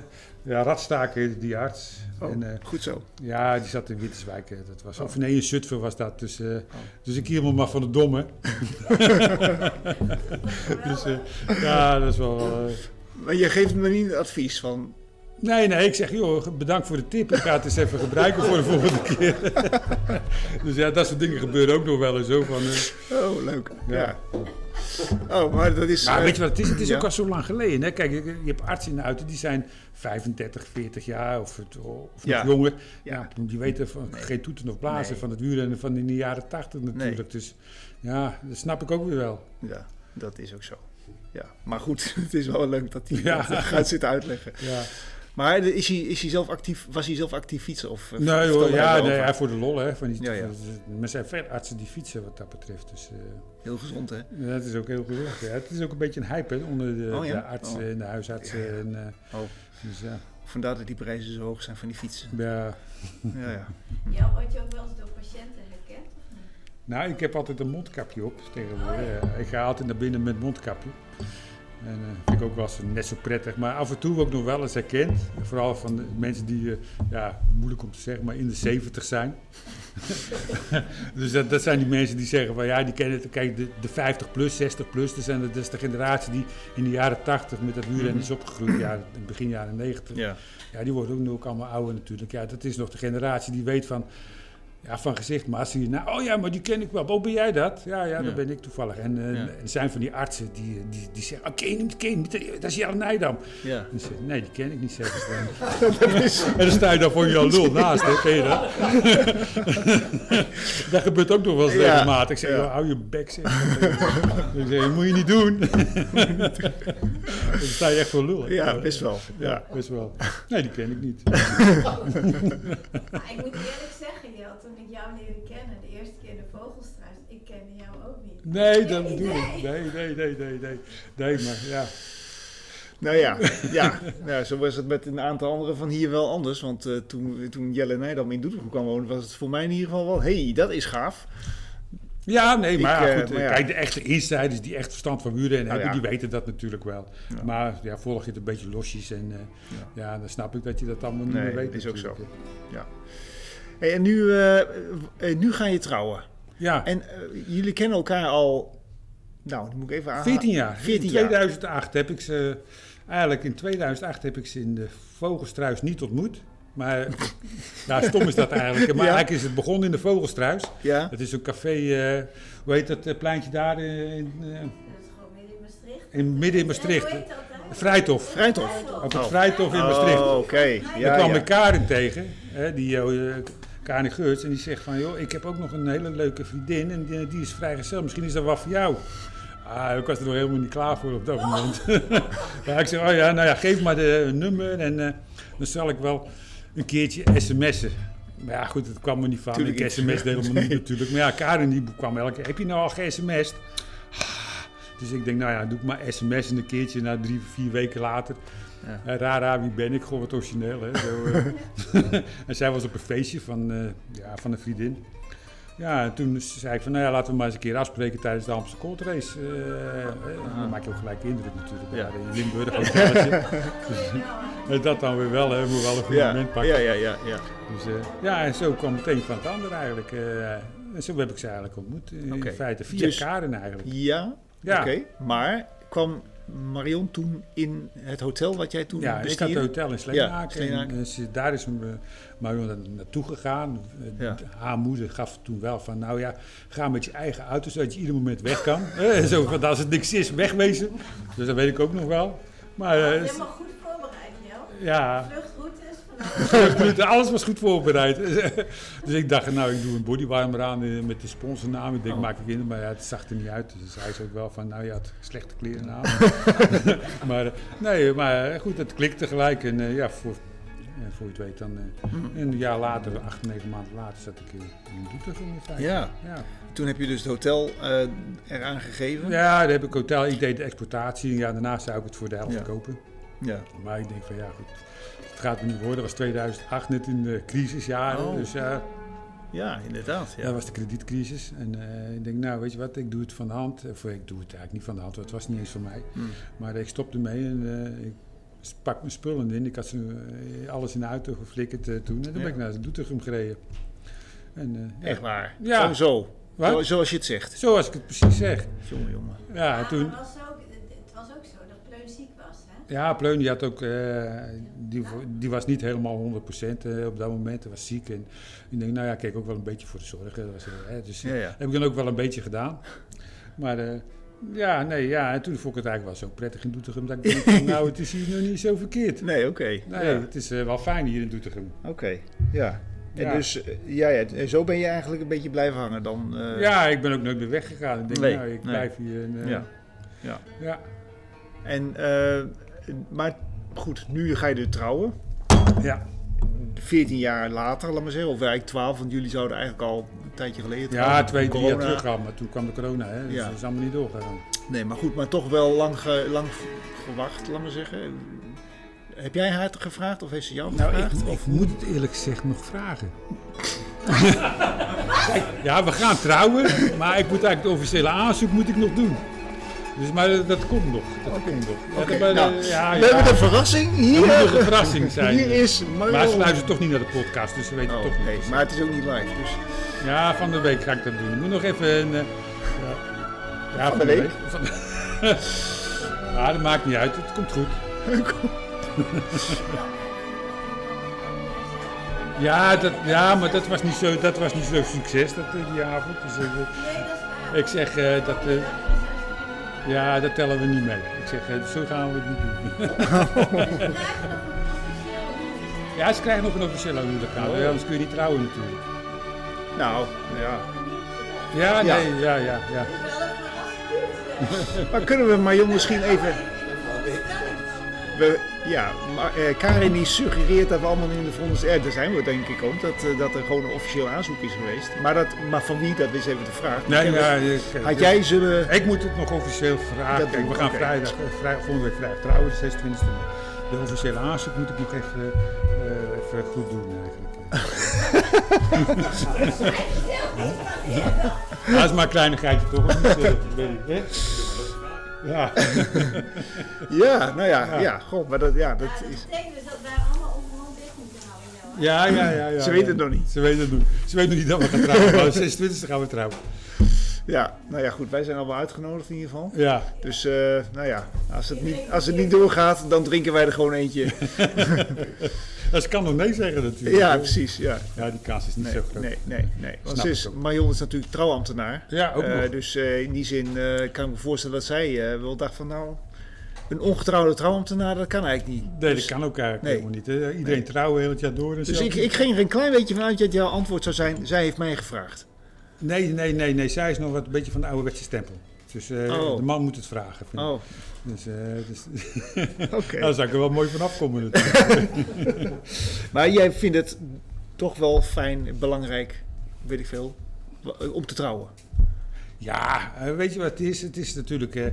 Speaker 3: ja, Radstaken, die arts.
Speaker 2: Oh,
Speaker 3: En, eh,
Speaker 2: goed zo.
Speaker 3: ja, die zat in Winterswijk. eh, Dat was, Of nee, in Zutphen was dat. Dus, eh,
Speaker 2: Oh.
Speaker 3: dus ik hier maar van de domme. dus, eh, ja, dat is wel... eh,
Speaker 2: Maar je geeft me niet advies van...
Speaker 3: Nee, nee, ik zeg, joh, bedankt voor de tip. Ik ga het eens even gebruiken voor de volgende keer. dus ja, dat soort dingen gebeuren ook nog wel eens. Zo van, eh,
Speaker 2: Oh, leuk. Ja.
Speaker 3: Ja.
Speaker 2: Oh, maar dat is...
Speaker 3: Maar
Speaker 2: eh,
Speaker 3: weet je wat, het is, het is
Speaker 2: ja.
Speaker 3: ook al zo lang geleden. Hè? Kijk, je, je hebt artsen in de uiten, die zijn 35, 40 jaar of, het, of nog
Speaker 2: Ja.
Speaker 3: jonger.
Speaker 2: Ja.
Speaker 3: Ja. die weten van geen toeten of blazen
Speaker 2: Nee.
Speaker 3: van het wielrennen van in de jaren 80 natuurlijk.
Speaker 2: Nee.
Speaker 3: Dus ja, dat snap ik ook weer wel.
Speaker 2: Ja, dat is ook zo. Ja, maar goed, het is wel leuk dat hij
Speaker 3: Ja.
Speaker 2: dat eh, gaat zitten uitleggen.
Speaker 3: Ja.
Speaker 2: Maar is hij, is hij zelf actief, was hij zelf actief fietsen? Of, eh,
Speaker 3: Nee hoor,
Speaker 2: vertelde hij
Speaker 3: ja,
Speaker 2: wel
Speaker 3: nee,
Speaker 2: van-
Speaker 3: ja, voor de lol hè. Van die,
Speaker 2: Ja, ja.
Speaker 3: Maar er zijn vetartsen die fietsen wat dat betreft. Dus eh,
Speaker 2: Heel gezond, hè?
Speaker 3: dat is ook heel gelukkig. Ja. Het is ook een beetje een hype hè, onder de,
Speaker 2: Oh, ja?
Speaker 3: de artsen
Speaker 2: Oh.
Speaker 3: en de huisartsen.
Speaker 2: Ja, ja.
Speaker 3: En, eh,
Speaker 2: Oh.
Speaker 3: Dus ja,
Speaker 2: Vandaar dat die prijzen zo hoog zijn van die fietsen.
Speaker 3: ja.
Speaker 2: Ja, ja.
Speaker 5: Ja, word je ook wel eens door patiënten herkend?
Speaker 3: Nou, ik heb altijd een mondkapje op tegenwoordig. Eh, Ik ga altijd naar binnen met mondkapje. En eh, vind ik ook wel eens net zo prettig. Maar af en toe ook nog wel eens herkend. Vooral van de mensen die, eh, ja, moeilijk om te zeggen, maar in de 70 zijn. dus dat, dat zijn die mensen die zeggen van ja, die kennen het. Kijk, de, de 50 plus, 60 plus, dat, zijn de, dat is de generatie die in de jaren 80 met dat wielrennen is opgegroeid. Ja, in begin jaren 90.
Speaker 2: ja.
Speaker 3: Ja, die worden ook nu ook allemaal ouder natuurlijk. Ja, dat is nog de generatie die weet van, ja, van gezicht. Maar als ze hier, nou, oh ja, maar die ken ik wel. Oh, ben jij dat? Ja, ja, dat
Speaker 2: Ja.
Speaker 3: ben ik toevallig. En eh,
Speaker 2: Ja.
Speaker 3: er zijn van die artsen die, die, die zeggen, oh, ken je niet, ken je niet, dat is Jan Nijdam.
Speaker 2: ja.
Speaker 3: En ze zeggen, nee, die ken ik niet, zeggen ze dan.
Speaker 2: Dat is,
Speaker 3: En dan sta je daar voor je lul naast, hè, ken je dat? dat gebeurt ook nog wel eens
Speaker 2: Ja.
Speaker 3: regelmatig. Ik zeg,
Speaker 2: Ja.
Speaker 3: joh, hou je bek, zeg. ik zeg, dat moet je niet doen. dan sta je echt voor lul. hè.
Speaker 2: ja, best wel.
Speaker 3: Ja, best wel. Nee, die ken ik niet.
Speaker 5: Maar ik moet eerlijk zeggen, Jel, toen ik jou leerde kennen, de eerste keer in de Vogelstraat, ik kende jou ook niet.
Speaker 3: Nee, dat
Speaker 5: Nee,
Speaker 3: bedoel ik.
Speaker 5: nee.
Speaker 3: Nee, nee, nee, nee, nee. Nee, maar ja.
Speaker 2: Nou ja, ja. Nou, zo was het met een aantal anderen van hier wel anders. Want eh, toen, toen Jelle Nijdam in Doetinchem kwam wonen, was het voor mij in ieder geval wel... hey, dat is gaaf.
Speaker 3: Ja, nee, maar
Speaker 2: eh,
Speaker 3: goed. eh,
Speaker 2: maar ja.
Speaker 3: Kijk, de echte insiders die echt verstand van wielrennen hebben,
Speaker 2: ja.
Speaker 3: die weten dat natuurlijk wel. Maar ja, volg je het een beetje losjes en eh, ja. dan snap ik dat je dat allemaal niet
Speaker 2: Nee,
Speaker 3: meer weet.
Speaker 2: is ook
Speaker 3: natuurlijk,
Speaker 2: zo.
Speaker 3: hè.
Speaker 2: Hey, en nu, eh, eh, nu ga je trouwen.
Speaker 3: Ja,
Speaker 2: En eh, jullie kennen elkaar al... Nou, die moet ik even aan.
Speaker 3: 14 ah, jaar.
Speaker 2: 14
Speaker 3: in
Speaker 2: jaar.
Speaker 3: 2008 heb ik ze, eigenlijk in 2008 heb ik ze in de Vogelstruis niet ontmoet. Maar, nou stom is dat eigenlijk. Maar
Speaker 2: Ja.
Speaker 3: eigenlijk is het begonnen in de Vogelstruis.
Speaker 2: Ja?
Speaker 3: Het is een café, eh, hoe heet dat eh, pleintje daar eh, in, eh,
Speaker 5: Dat is gewoon midden in Maastricht.
Speaker 3: in, midden in Maastricht?
Speaker 5: En hoe heet dat daar?
Speaker 3: Vrijthof.
Speaker 2: Vrijthof.
Speaker 3: Op het
Speaker 2: Oh.
Speaker 3: Vrijthof in Maastricht.
Speaker 2: Oh, oké.
Speaker 3: Daar
Speaker 2: Ja,
Speaker 3: kwam
Speaker 2: ja.
Speaker 3: ik Karin tegen, hè, die eh Karin Geurts, en die zegt van, joh, ik heb ook nog een hele leuke vriendin en die, die is vrijgezel, misschien is dat wat voor jou. Ah, ik was er nog helemaal niet klaar voor op dat moment. ja, ik zei, oh ja, nou ja, geef maar de nummer en eh, dan zal ik wel een keertje sms'en. Maar ja, goed, het kwam er niet van.
Speaker 2: Tuurlijk
Speaker 3: ik
Speaker 2: niet.
Speaker 3: sms'de helemaal niet natuurlijk. Maar ja, Karin die kwam elke keer, heb je nou al gesms'd? Dus ik denk, nou ja, doe ik maar sms en een keertje, na drie, vier weken later.
Speaker 1: Ja.
Speaker 3: Eh, rara, wie ben ik? Gewoon wat origineel, hè? Zo, eh. en zij was op een feestje van, eh, ja, van een vriendin. Ja, en toen zei ik van, nou ja, laten we maar eens een keer afspreken tijdens de Amsterdam Cold Race. eh, eh, Dan maak je ook gelijk indruk natuurlijk,
Speaker 1: Ja.
Speaker 3: daar in Limburg. ook wel.
Speaker 5: Ja.
Speaker 3: Eh, dat dan weer wel, hè. Moet wel een goed
Speaker 2: Ja,
Speaker 3: moment
Speaker 2: ja,
Speaker 3: pakken.
Speaker 2: ja, ja, ja.
Speaker 3: Dus, eh, ja, en zo kwam het een van het ander eigenlijk. eh. en zo heb ik ze eigenlijk ontmoet, eh,
Speaker 2: Oké.
Speaker 3: in feite. Via
Speaker 2: Dus-
Speaker 3: Karen eigenlijk.
Speaker 2: Ja,
Speaker 3: Ja.
Speaker 2: oké. Maar kwam Marion toen in het hotel wat jij toen
Speaker 3: Ja, ik had
Speaker 2: bestierde?
Speaker 3: het hotel in Sleenaak.
Speaker 2: Sleenaak.
Speaker 3: en eh, ze- daar is m- eh, Marion na- naartoe gegaan. Eh,
Speaker 2: Ja.
Speaker 3: Haar moeder gaf toen wel van, nou ja, ga met je eigen auto, zodat je ieder moment weg kan. Eh, Zo van, als het niks is, wegwezen. Dus dat weet ik ook nog wel. Maar eh,
Speaker 5: Helemaal goed voorbereid, Jo.
Speaker 3: ja,
Speaker 5: Vluchtroutes vanaf.
Speaker 3: Absoluut, alles was goed voorbereid. Dus ik dacht, nou, ik doe een bodywarmer aan eh, met de sponsornaam. Ik denk,
Speaker 2: Oh.
Speaker 3: maak ik in, maar ja, het zag er niet uit. Dus hij zei ook wel van, nou, je had slechte kleren aan. maar eh, nee, maar eh, goed, het klikte gelijk. En eh, ja, voor, eh, voor je het weet dan... eh, Een jaar later, acht, negen maanden later, zat ik in, in Doetinchem in feite.
Speaker 2: Ja,
Speaker 3: Ja.
Speaker 2: toen heb je dus het hotel eh, eraan gegeven.
Speaker 3: ja, daar heb ik hotel. Ik deed de exportatie. Ja, daarna zou ik het voor de helft
Speaker 2: Ja.
Speaker 3: kopen.
Speaker 2: Ja.
Speaker 3: Maar ik denk van ja, goed, het gaat me niet worden. Dat was 2008 net in de crisisjaren.
Speaker 2: Oh.
Speaker 3: Dus ja,
Speaker 2: Ja, inderdaad.
Speaker 3: ja.
Speaker 2: Ja.
Speaker 3: dat was de kredietcrisis. En eh, ik denk, nou weet je wat, ik doe het van de hand. Of ik doe het eigenlijk niet van de hand, want het was niet eens van mij.
Speaker 2: Hmm.
Speaker 3: Maar ik stopte mee en eh, ik s- pak mijn spullen in. Ik had ze, eh, alles in de auto geflikkerd eh, toen. En toen
Speaker 2: Ja.
Speaker 3: ben ik naar Doetinchem gereden. En, eh, ja.
Speaker 2: Echt waar.
Speaker 3: Ja.
Speaker 2: Oh, zo.
Speaker 3: Wat?
Speaker 2: Zo- Zoals je het zegt.
Speaker 3: Zoals ik het precies zeg.
Speaker 2: Jongen, jongen.
Speaker 3: Ja,
Speaker 5: Ja,
Speaker 3: toen...
Speaker 5: maar was ook, het was ook zo dat Pleun ziek was, hè?
Speaker 3: Ja, Pleun die had ook, eh, die, die was niet helemaal 100% eh, op dat moment. Hij was ziek en ik denk, nou ja, ik keek ook wel een beetje voor de zorg. hè. Dat was, eh, hè, dus eh,
Speaker 2: Ja, ja.
Speaker 3: dat heb ik dan ook wel een beetje gedaan. Maar eh, ja, nee, ja, en toen vond ik het eigenlijk wel zo prettig in Doetinchem. Dat ik dacht, van, nou, het is hier nog niet zo verkeerd.
Speaker 2: Nee, oké.
Speaker 3: Nee,
Speaker 2: Ja.
Speaker 3: het is eh, wel fijn hier in Doetinchem.
Speaker 2: Oké, ja. En
Speaker 3: Ja.
Speaker 2: dus, eh, ja, ja, en zo ben je eigenlijk een beetje blijven hangen dan. eh,
Speaker 3: ja, ik ben ook nooit meer weggegaan. Ik denk,
Speaker 2: Nee,
Speaker 3: nou, ik
Speaker 2: nee.
Speaker 3: blijf hier. En, eh,
Speaker 2: ja.
Speaker 3: ja.
Speaker 2: En, eh, maar goed, nu ga je dus trouwen.
Speaker 3: ja.
Speaker 2: 14 jaar later, laat maar zeggen. Of eigenlijk 12, want jullie zouden eigenlijk al een tijdje geleden
Speaker 3: Ja, twee, drie jaar
Speaker 2: Corona.
Speaker 3: terug gaan, maar toen kwam de corona. Hè, dus
Speaker 2: Ja.
Speaker 3: dat is allemaal niet doorgegaan.
Speaker 2: Nee, maar goed, maar toch wel lang, ge- lang v- gewacht, laat maar zeggen. Heb jij haar gevraagd of heeft ze jou
Speaker 3: Nou, ik,
Speaker 2: gevraagd?
Speaker 3: ik moet het eerlijk gezegd nog vragen. ja, we gaan trouwen, maar ik moet eigenlijk het officiële aanzoek moet ik nog doen. Dus, maar dat, dat komt nog. Dat komt nog. Ja,
Speaker 2: Oké,
Speaker 3: maar,
Speaker 2: nou,
Speaker 3: eh, ja,
Speaker 2: We
Speaker 3: ja.
Speaker 2: hebben een verrassing
Speaker 3: Er
Speaker 2: hier.
Speaker 3: moet nog een verrassing zijn.
Speaker 2: Hier is
Speaker 3: maar ze
Speaker 2: Marion.
Speaker 3: luisteren toch niet naar de podcast, dus ze weten het
Speaker 2: Oh,
Speaker 3: toch niet.
Speaker 2: nee, maar het is ook niet live, dus...
Speaker 3: Ja, van de week ga ik dat doen. Ik moet nog even een... eh, ja. Ja,
Speaker 2: Van de week?
Speaker 3: Van ja, dat maakt niet uit. Het komt goed. Ja, dat, ja maar dat was niet zo, dat was niet zo succes dat, eh, die avond. Dus, eh,
Speaker 5: Nee, dat is waar.
Speaker 3: Ik zeg eh, dat, eh,
Speaker 5: We
Speaker 3: ja, dat tellen we niet mee. Ik zeg, eh, zo gaan we het niet doen.
Speaker 5: krijgen nog een officieel huwelijk.
Speaker 3: ja, ze krijgen nog een officiële huwelijkskaart,
Speaker 2: Oh.
Speaker 3: ja, anders kun je niet trouwen natuurlijk.
Speaker 2: Nou, ja.
Speaker 3: Ja,
Speaker 2: Ja.
Speaker 3: nee, ja, ja, ja.
Speaker 5: Het is wel een verrassing.
Speaker 2: Maar kunnen we Marion misschien even...
Speaker 5: Even.
Speaker 2: We, ja, maar, eh, Karin die suggereert dat we allemaal in de volgende... Eh, daar zijn we denk ik ook, dat, eh, dat er gewoon een officieel aanzoek is geweest. Maar, dat, maar van wie, dat is even de vraag.
Speaker 3: Nee,
Speaker 2: Kennen we-
Speaker 3: ja, ik- eh,
Speaker 2: Had jij zullen...
Speaker 3: Ik moet het nog officieel
Speaker 2: Dat
Speaker 3: vragen. Kijk,
Speaker 2: doen
Speaker 3: we
Speaker 2: we,
Speaker 3: gaan
Speaker 2: oké.
Speaker 3: vrijdag, eh, vrij, volgende week vrijdag trouwen, de 26 De officiële aanzoek moet ik nog even, eh, even goed doen eigenlijk. Ja, dat is maar een kleinigheidje toch? of niet, eh, Benny? Hè? Ja.
Speaker 2: Ja, nou ja, ja.
Speaker 3: Ja.
Speaker 2: god, maar dat, ja,
Speaker 5: Ja,
Speaker 2: dat
Speaker 5: dat
Speaker 2: is...
Speaker 5: betekent dus dat wij allemaal onderhand dicht moeten houden, Jo.
Speaker 3: Ja, ja, ja, ja.
Speaker 2: Ze weten het
Speaker 3: ja.
Speaker 2: nog niet.
Speaker 3: Ze weten het nog Ze weten nog niet dat we gaan trouwen. Maar 26 gaan we trouwen.
Speaker 2: Ja, nou ja, goed, wij zijn al wel uitgenodigd in ieder geval.
Speaker 3: Ja.
Speaker 2: Dus, eh, nou ja, als het, niet, als het niet doorgaat, dan drinken wij er gewoon eentje.
Speaker 3: Dat kan nog nee zeggen natuurlijk.
Speaker 2: Ja, precies, ja.
Speaker 3: Ja, die kans is niet
Speaker 2: Nee,
Speaker 3: zo groot.
Speaker 2: nee, nee. nee. Want
Speaker 3: Snap
Speaker 2: ze
Speaker 3: ik
Speaker 2: is,
Speaker 3: ook.
Speaker 2: Marion is natuurlijk trouwambtenaar.
Speaker 3: Ja, ook
Speaker 2: Eh,
Speaker 3: nog.
Speaker 2: dus eh, in die zin eh, kan ik me voorstellen dat zij eh, wel dacht van, nou, een ongetrouwde trouwambtenaar, dat kan eigenlijk niet.
Speaker 3: Nee,
Speaker 2: dus
Speaker 3: dat kan ook eigenlijk
Speaker 2: Nee.
Speaker 3: helemaal niet. Hè? Iedereen trouwen heel het jaar door. En
Speaker 2: dus
Speaker 3: zo.
Speaker 2: ik, ik ging er een klein beetje vanuit dat jouw antwoord zou zijn, zij heeft mij gevraagd.
Speaker 3: Nee, nee, nee, nee. Zij is nog wat een beetje van de ouderwetse stempel. Dus eh,
Speaker 2: Oh.
Speaker 3: de man moet het vragen. Vind ik.
Speaker 2: Oh,
Speaker 3: Dus, eh, dus, Nou,
Speaker 2: oké.
Speaker 3: Daar zou ik er wel mooi van afkomen natuurlijk.
Speaker 2: Maar jij vindt het toch wel fijn, belangrijk, weet ik veel, om te trouwen.
Speaker 3: ja, eh, weet je wat het is? Het is natuurlijk... eh,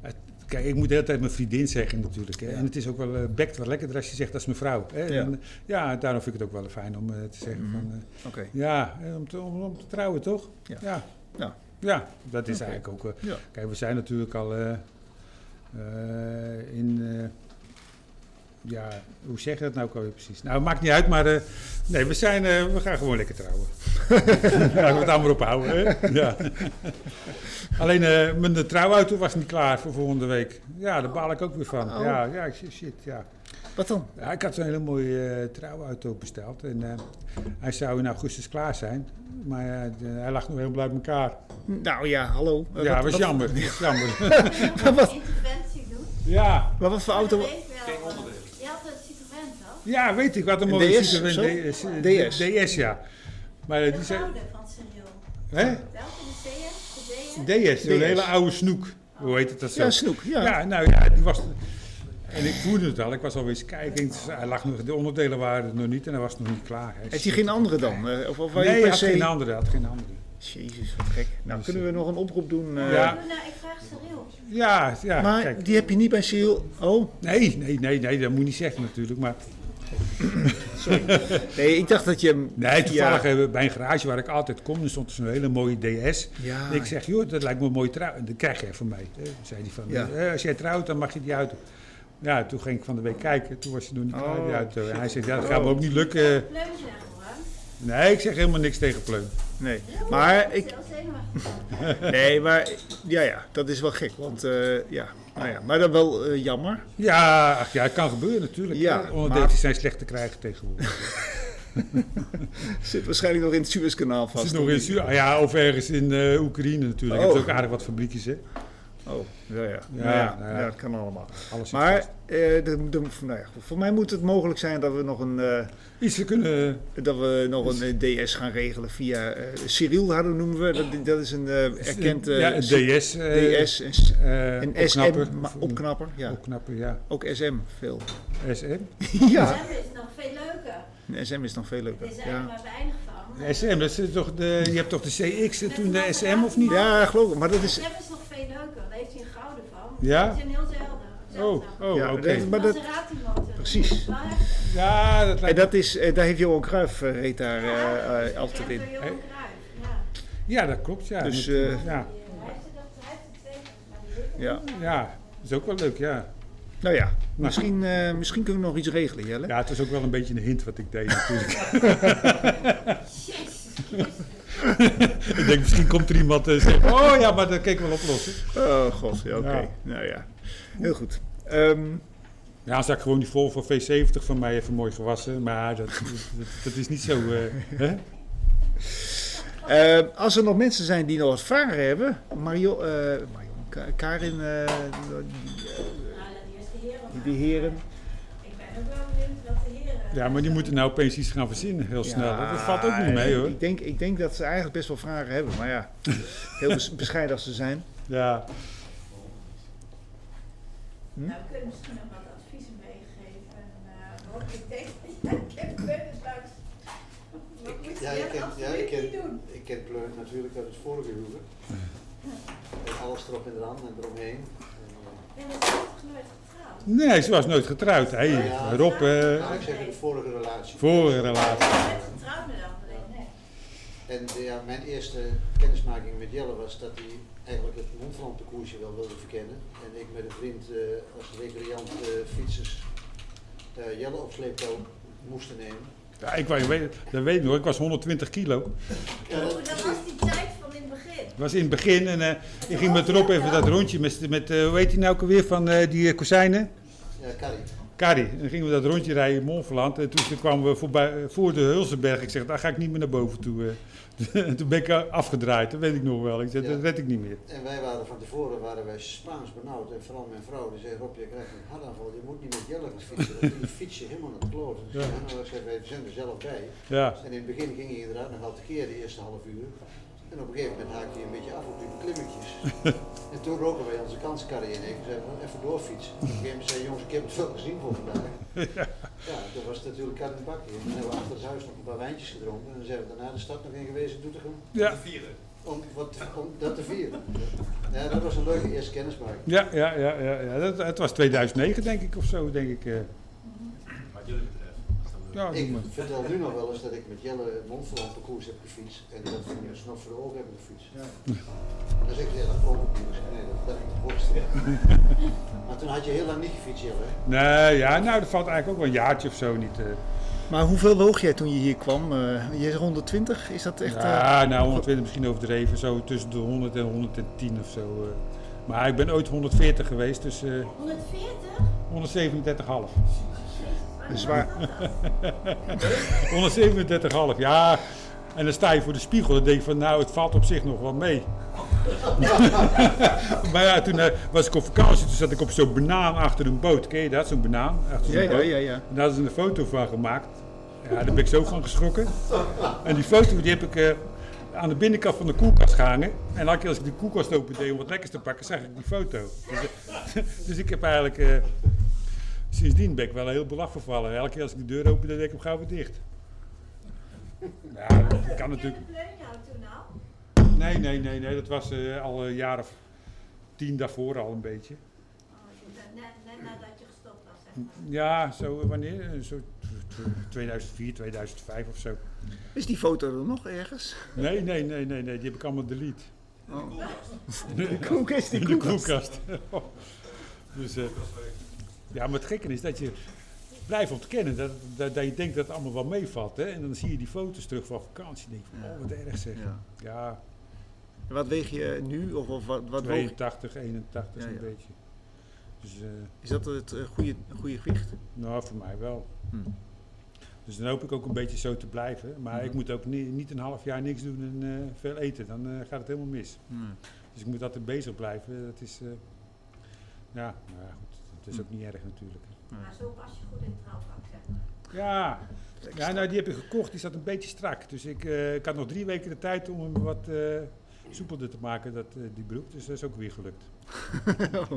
Speaker 3: het- Kijk, ik moet de hele tijd mijn vriendin zeggen natuurlijk. Hè. En het is ook wel, eh, bekt wel lekkerder als je zegt dat is mijn vrouw. Hè.
Speaker 2: Ja. Mhm.
Speaker 3: En, ja, daarom vind ik het ook wel fijn om eh, te zeggen van... eh,
Speaker 2: Oké.
Speaker 3: Ja, eh, om te, om, om te trouwen, toch?
Speaker 2: Ja.
Speaker 3: Ja,
Speaker 2: Ja.
Speaker 3: Ja, dat is eigenlijk ook... eh,
Speaker 2: Ja.
Speaker 3: Kijk, we zijn natuurlijk al eh, eh, in... eh, ja, hoe zeg je dat nou ook alweer precies? Nou, maakt niet uit, maar... eh, nee, we, zijn, eh, we gaan gewoon lekker trouwen. Laten we het daar maar op houden, hè? Ja. Alleen, eh, mijn trouwauto was niet klaar voor volgende week. Ja, daar baal ik ook weer van.
Speaker 2: Oh.
Speaker 3: Ja, ja, shit, shit, ja.
Speaker 2: Wat dan?
Speaker 3: Ja, ik had zo'n hele mooie eh, trouwauto besteld. En eh, hij zou in augustus klaar zijn. Maar eh, de- hij lag nog helemaal uit elkaar.
Speaker 2: Nou ja, hallo. Eh,
Speaker 3: ja,
Speaker 2: wat-
Speaker 3: was
Speaker 2: wat-
Speaker 3: jammer. was jammer.
Speaker 5: Ja, wat? interventie doen.
Speaker 3: ja.
Speaker 2: Maar wat voor
Speaker 5: Maar
Speaker 2: auto?
Speaker 5: dat weet wel,
Speaker 6: Geen
Speaker 5: eh,
Speaker 6: onderdeel.
Speaker 5: Je had een Citroën toch?
Speaker 3: ja, weet ik wat een
Speaker 2: Een
Speaker 3: mooie
Speaker 2: DS
Speaker 3: Citroën eh,
Speaker 2: zo?
Speaker 3: DS,
Speaker 2: DS.
Speaker 3: DS, ja. Maar eh,
Speaker 5: De
Speaker 3: die zei...
Speaker 5: gouden van Cyril.
Speaker 3: Hè?
Speaker 5: Welke de CS? De DS?
Speaker 3: DS, zo'n
Speaker 2: DS.
Speaker 3: hele oude snoek. Hoe heet het dat zo?
Speaker 2: Ja, snoek. Ja.
Speaker 3: Ja, nou ja, die was... En ik voelde het al. Ik was alweer eens kijken. Ik- Hij lag nog, de onderdelen waren er nog niet en hij was nog niet klaar. Hij
Speaker 2: Heeft hij geen andere dan? Eh, Of, of waar
Speaker 3: Nee,
Speaker 2: je
Speaker 3: hij nou-
Speaker 2: per
Speaker 3: had
Speaker 2: se...
Speaker 3: geen andere. had geen andere.
Speaker 2: Jezus, wat gek. Nou,
Speaker 3: Dus,
Speaker 2: kunnen we nog een oproep doen? eh?
Speaker 3: Ja.
Speaker 5: Doe nou, ik vraag Cyril.
Speaker 3: Ja, ja.
Speaker 2: Maar
Speaker 3: kijk.
Speaker 2: die heb je niet bij Seal. Oh,
Speaker 3: Nee, nee, nee, nee, dat moet je niet zeggen natuurlijk. Maar
Speaker 2: nee, eh, ik dacht dat je hem...
Speaker 3: nee, toevallig
Speaker 2: Ja.
Speaker 3: hebben we bij een garage waar ik altijd kom, er stond zo'n hele mooie DS.
Speaker 2: Ja.
Speaker 3: Ik zeg, joh, dat lijkt me een mooie trouw. En dat krijg jij van mij. hè, zei hij van,
Speaker 2: Ja.
Speaker 3: eh, als jij trouwt, dan mag je die auto. Ja, toen ging ik van de week kijken. Toen was je nog niet klaar, die
Speaker 2: Oh,
Speaker 3: auto. En
Speaker 2: shit.
Speaker 3: hij zegt, ja, dat gaat me ook niet lukken.
Speaker 5: Pleutje naar gewoon.
Speaker 3: Nee, ik zeg helemaal niks tegen Pleun.
Speaker 2: Nee,
Speaker 5: Cyril,
Speaker 2: maar
Speaker 5: dat
Speaker 2: ik...
Speaker 5: is heel zenuwachtig.
Speaker 2: Nee, maar... Ja, ja, dat is wel gek. Want, eh, ja, nou ja. Maar dan wel eh, jammer.
Speaker 3: Ja, ach, ja, het kan gebeuren natuurlijk.
Speaker 2: Ja,
Speaker 3: hè. Onderdeeltjes zijn slecht te krijgen tegenwoordig.
Speaker 2: Zit waarschijnlijk nog in het Suezkanaal
Speaker 3: Het
Speaker 2: vast.
Speaker 3: is nog in Su- Ah ja, of ergens in eh, Oekraïne natuurlijk.
Speaker 2: Oh.
Speaker 3: Er zijn ook aardig wat fabriekjes, hè.
Speaker 2: Oh, ja, ja. Nou
Speaker 3: Ja,
Speaker 2: ja,
Speaker 3: nou ja.
Speaker 2: ja, dat kan allemaal.
Speaker 3: Alles zit
Speaker 2: Maar
Speaker 3: vast.
Speaker 2: eh, de, de, nou ja, goed. voor mij moet het mogelijk zijn dat we nog een, eh,
Speaker 3: Iets te kunnen...
Speaker 2: dat we nog een eh, DS gaan regelen via eh Cyril, hadden noemen we. Dat, dat is een eh, erkend eh,
Speaker 3: ja, een DS. eh,
Speaker 2: DS en, s-
Speaker 3: eh,
Speaker 2: en
Speaker 3: opknapper.
Speaker 2: SM, maar opknapper. Ja.
Speaker 3: Opknapper, ja.
Speaker 2: Ook SM veel.
Speaker 3: SM.
Speaker 2: ja,
Speaker 5: Hem is nog veel leuker.
Speaker 2: een SM is nog veel
Speaker 5: Er is
Speaker 2: leuker.
Speaker 5: eigenlijk
Speaker 2: Ja.
Speaker 5: maar weinig van.
Speaker 3: SM, dat is toch de, je hebt toch de CX en toen de SM, of niet?
Speaker 2: ja, geloof ik. Maar dat is...
Speaker 5: Hem is nog veel leuker. Daar heeft hij een gouden van.
Speaker 3: Dus- Ja?
Speaker 5: Die zijn heel zelden.
Speaker 3: Oh, oh
Speaker 2: ja,
Speaker 3: oké.
Speaker 2: dat- maar dat,
Speaker 5: Maserati-motor.
Speaker 2: Precies.
Speaker 5: Wel echt.
Speaker 3: Ja, dat
Speaker 2: en
Speaker 3: lijkt
Speaker 2: dat is, eh, daar heeft Johan Cruijff eh, reed daar eh, eh,
Speaker 5: Ja,
Speaker 2: altijd
Speaker 5: door
Speaker 2: in.
Speaker 5: Johan
Speaker 3: Hey.
Speaker 5: Cruijff, ja.
Speaker 3: Ja, dat klopt, ja.
Speaker 2: Dus,
Speaker 3: Met-
Speaker 2: eh,
Speaker 3: ja,
Speaker 5: Hij heeft er nog- hij heeft er twee, maar die heeft er
Speaker 2: Ja.
Speaker 3: ja, dat is ook wel leuk, ja.
Speaker 2: Nou ja, misschien, eh, misschien kunnen we nog iets regelen, Jelle.
Speaker 3: Ja, het was ook wel een beetje een hint wat ik deed natuurlijk.
Speaker 5: Jezus. Nou,
Speaker 3: ik denk, misschien komt er iemand en zegt, oh ja, maar dat kan ik wel oplossen.
Speaker 2: Oh god, ja, oké.
Speaker 3: Ja.
Speaker 2: Nou ja, heel goed. Ehm,
Speaker 3: Ja, dan zag ik gewoon die Volvo V70 van mij even mooi gewassen, maar dat, dat, dat is niet zo... eh, hè?
Speaker 2: ehm, als er nog mensen zijn die nog wat vragen hebben, Mario, eh, Marion, Ka- Karin, eh, die, eh,
Speaker 5: Nou, dat eerste heren.
Speaker 2: die heren.
Speaker 5: Ik ben ook wel benieuwd wat de heren...
Speaker 3: Ja, maar die moeten nou opeens iets gaan verzinnen, heel snel.
Speaker 2: Ja,
Speaker 3: dat valt ook niet mee, hoor.
Speaker 2: Ik denk, ik denk dat ze eigenlijk best wel vragen hebben, maar ja, heel bes- bescheiden als ze zijn.
Speaker 3: Ja,
Speaker 5: Nou, we kunnen misschien nog wat adviezen meegeven. En, eh, hopelijk denk ik, ja, ik heb kennis langs. Wat moet je
Speaker 4: Ja, ik
Speaker 5: dat
Speaker 4: ken, ja, ik
Speaker 5: absoluut niet
Speaker 4: ken,
Speaker 5: doen?
Speaker 4: ik ken Pleun natuurlijk uit het vorige huwelijk. En alles erop en eraan en eromheen. En, eh,
Speaker 5: Ja, maar ze is toch nooit getrouwd?
Speaker 3: nee, ze was nooit getrouwd. Hé,
Speaker 4: Ja.
Speaker 3: Rob, eh
Speaker 4: nou, ik zeg in de vorige relatie.
Speaker 3: vorige relatie.
Speaker 5: Ze bent getrouwd met André, nee.
Speaker 4: En eh, ja, mijn eerste kennismaking met Jelle was dat hij eigenlijk het Montflantenkoersje wel wilde verkennen. En ik met een vriend eh, als recreant eh, fietsers eh, Jelle op sleeptouw moesten nemen.
Speaker 3: Ja, ik wou- ik weet, dat weet ik nog, ik was 120 kilo.
Speaker 4: Ja, dat-
Speaker 5: Oh, dat was die tijd van in het begin.
Speaker 3: Ik was in het begin en eh, ik ging met Rob even dat rondje met, met eh, hoe heet die nou ook alweer, van eh, die eh, kozijnen?
Speaker 4: Ja, Carrie.
Speaker 3: Carrie. En dan gingen we dat rondje rijden in Montferland. En toen kwamen we voorbij, eh, voor de Hulsenberg. Ik zeg, daar ga ik niet meer naar boven toe. eh. En toen ben ik afgedraaid, dat weet ik nog wel. Ik zeg,
Speaker 4: Ja.
Speaker 3: dat red ik niet meer.
Speaker 4: En wij waren van tevoren waren wij Spaans benauwd. En vooral mijn vrouw die zei, Rob, je krijgt een hartaanval. Je moet niet met Jelle gaan fietsen. Want die fietsen helemaal naar het kloten. Dus
Speaker 3: Ja.
Speaker 4: ja. nou, ik zei, wij zijn er zelf bij.
Speaker 3: Ja,
Speaker 4: En in het begin ging hij inderdaad nog altijd keer de eerste half uur. En op een gegeven moment haakte hij een beetje af op die beklimmetjes. en toen roken wij onze kanskarrie in. Ik zei, van, even doorfietsen. Op een gegeven moment zei hij, jongens, ik heb het wel gezien voor vandaag. ja, toen was het natuurlijk kat en bakje. En toen hebben we achter het huis nog een paar wijntjes gedronken. En dan zijn we daarna de stad nog in geweest in Doetinchem.
Speaker 3: Ja,
Speaker 6: Te vieren.
Speaker 4: Om, wat, om dat te vieren. Ja, dat was een leuke eerste kennismaking.
Speaker 3: ja, ja, ja, ja, ja. Dat, het was 2009 denk ik of zo, denk ik. eh.
Speaker 6: Wat jullie betreft. Als dat
Speaker 3: Ja, doe
Speaker 4: Ik
Speaker 3: maar.
Speaker 4: vertel nu nog wel eens dat ik met Jelle Montferland de koers heb gefietst en dat we een snor voor de ogen hebben gefietst. Dan zeg ik, ja, dat klopt niet. dus Nee, dat ben ik de hoogste. maar toen had je heel lang niet gefietst, Jelle. hè?
Speaker 3: Nee, ja, nou dat valt eigenlijk ook wel een jaartje of zo niet. eh.
Speaker 2: Maar hoeveel woog jij toen je hier kwam? Eh, je is 120, is dat echt... eh,
Speaker 3: ja, nou 120 misschien overdreven, zo tussen de 100 en 110 of zo. eh. Maar ik ben ooit 140 geweest, dus eh
Speaker 5: 140?
Speaker 3: 137,5.
Speaker 2: Zwaar.
Speaker 3: 137,5, ja. En dan sta je voor de spiegel en denk je van, nou, het valt op zich nog wel mee. maar ja, toen eh, was ik op vakantie, toen zat ik op zo'n banaan achter een boot. Ken je dat, zo'n banaan? Achter zo'n
Speaker 2: Ja, ja,
Speaker 3: boot.
Speaker 2: ja, ja.
Speaker 3: En daar hadden ze een foto van gemaakt. Ja, daar ben ik zo van geschrokken. En die foto die heb ik eh, aan de binnenkant van de koelkast gehangen. En elke keer als ik die koelkast open deed om wat lekkers te pakken, zag ik die foto. Dus, eh, dus ik heb eigenlijk... eh, sindsdien ben ik wel heel belaf vervallen. Elke keer als ik de deur open, deed ik hem gauw weer dicht. Ja, dat kan natuurlijk...
Speaker 5: Leunhout nou, toen al.
Speaker 3: Nee, nee, nee, nee. Dat was eh, al een jaar of tien daarvoor al een beetje.
Speaker 5: Oh, dus dat net, net nadat je gestopt was, zeg maar.
Speaker 3: Ja, zo eh, wanneer? Eh, Zo tw- tw- 2004, 2005 of zo.
Speaker 2: Is die foto er nog ergens?
Speaker 3: Nee, nee, nee, nee, nee. Die heb ik allemaal delete.
Speaker 2: Koek is die
Speaker 3: In de
Speaker 2: koek.
Speaker 3: koelkast. dus, eh, ja, maar het gekke is dat je blijft ontkennen. Dat, dat, dat je denkt dat het allemaal wel meevalt. Hè? En dan zie je die foto's terug van vakantie. En denk je van, oh, wat erg zeg.
Speaker 2: Ja.
Speaker 3: Ja,
Speaker 2: En Wat weeg je nu? Of, of wat, wat woog
Speaker 3: 82, 81
Speaker 2: Ja,
Speaker 3: een
Speaker 2: ja.
Speaker 3: beetje. Dus... eh,
Speaker 2: Is dat het eh, goede, goede gewicht?
Speaker 3: Nou, voor mij wel.
Speaker 2: Hmm.
Speaker 3: Dus dan hoop ik ook een beetje zo te blijven.
Speaker 2: Mhm.
Speaker 3: Maar ik moet ook ni- niet een half jaar niks doen en eh, veel eten. Dan eh, gaat het helemaal mis.
Speaker 2: Hm.
Speaker 3: Dus ik moet altijd bezig blijven. Dat is. eh, ja, nou ja, goed. Het
Speaker 2: Mhm.
Speaker 3: is ook niet erg natuurlijk.
Speaker 5: Maar zo was je goed in het trouwpak, zeg maar.
Speaker 3: Ja. ja, nou die heb ik gekocht. Die zat een beetje strak. Dus ik, eh, ik had nog drie weken de tijd om hem wat eh, soepelder te maken, dat, eh, die broek. Dus dat is ook weer gelukt.
Speaker 4: Ik heb uit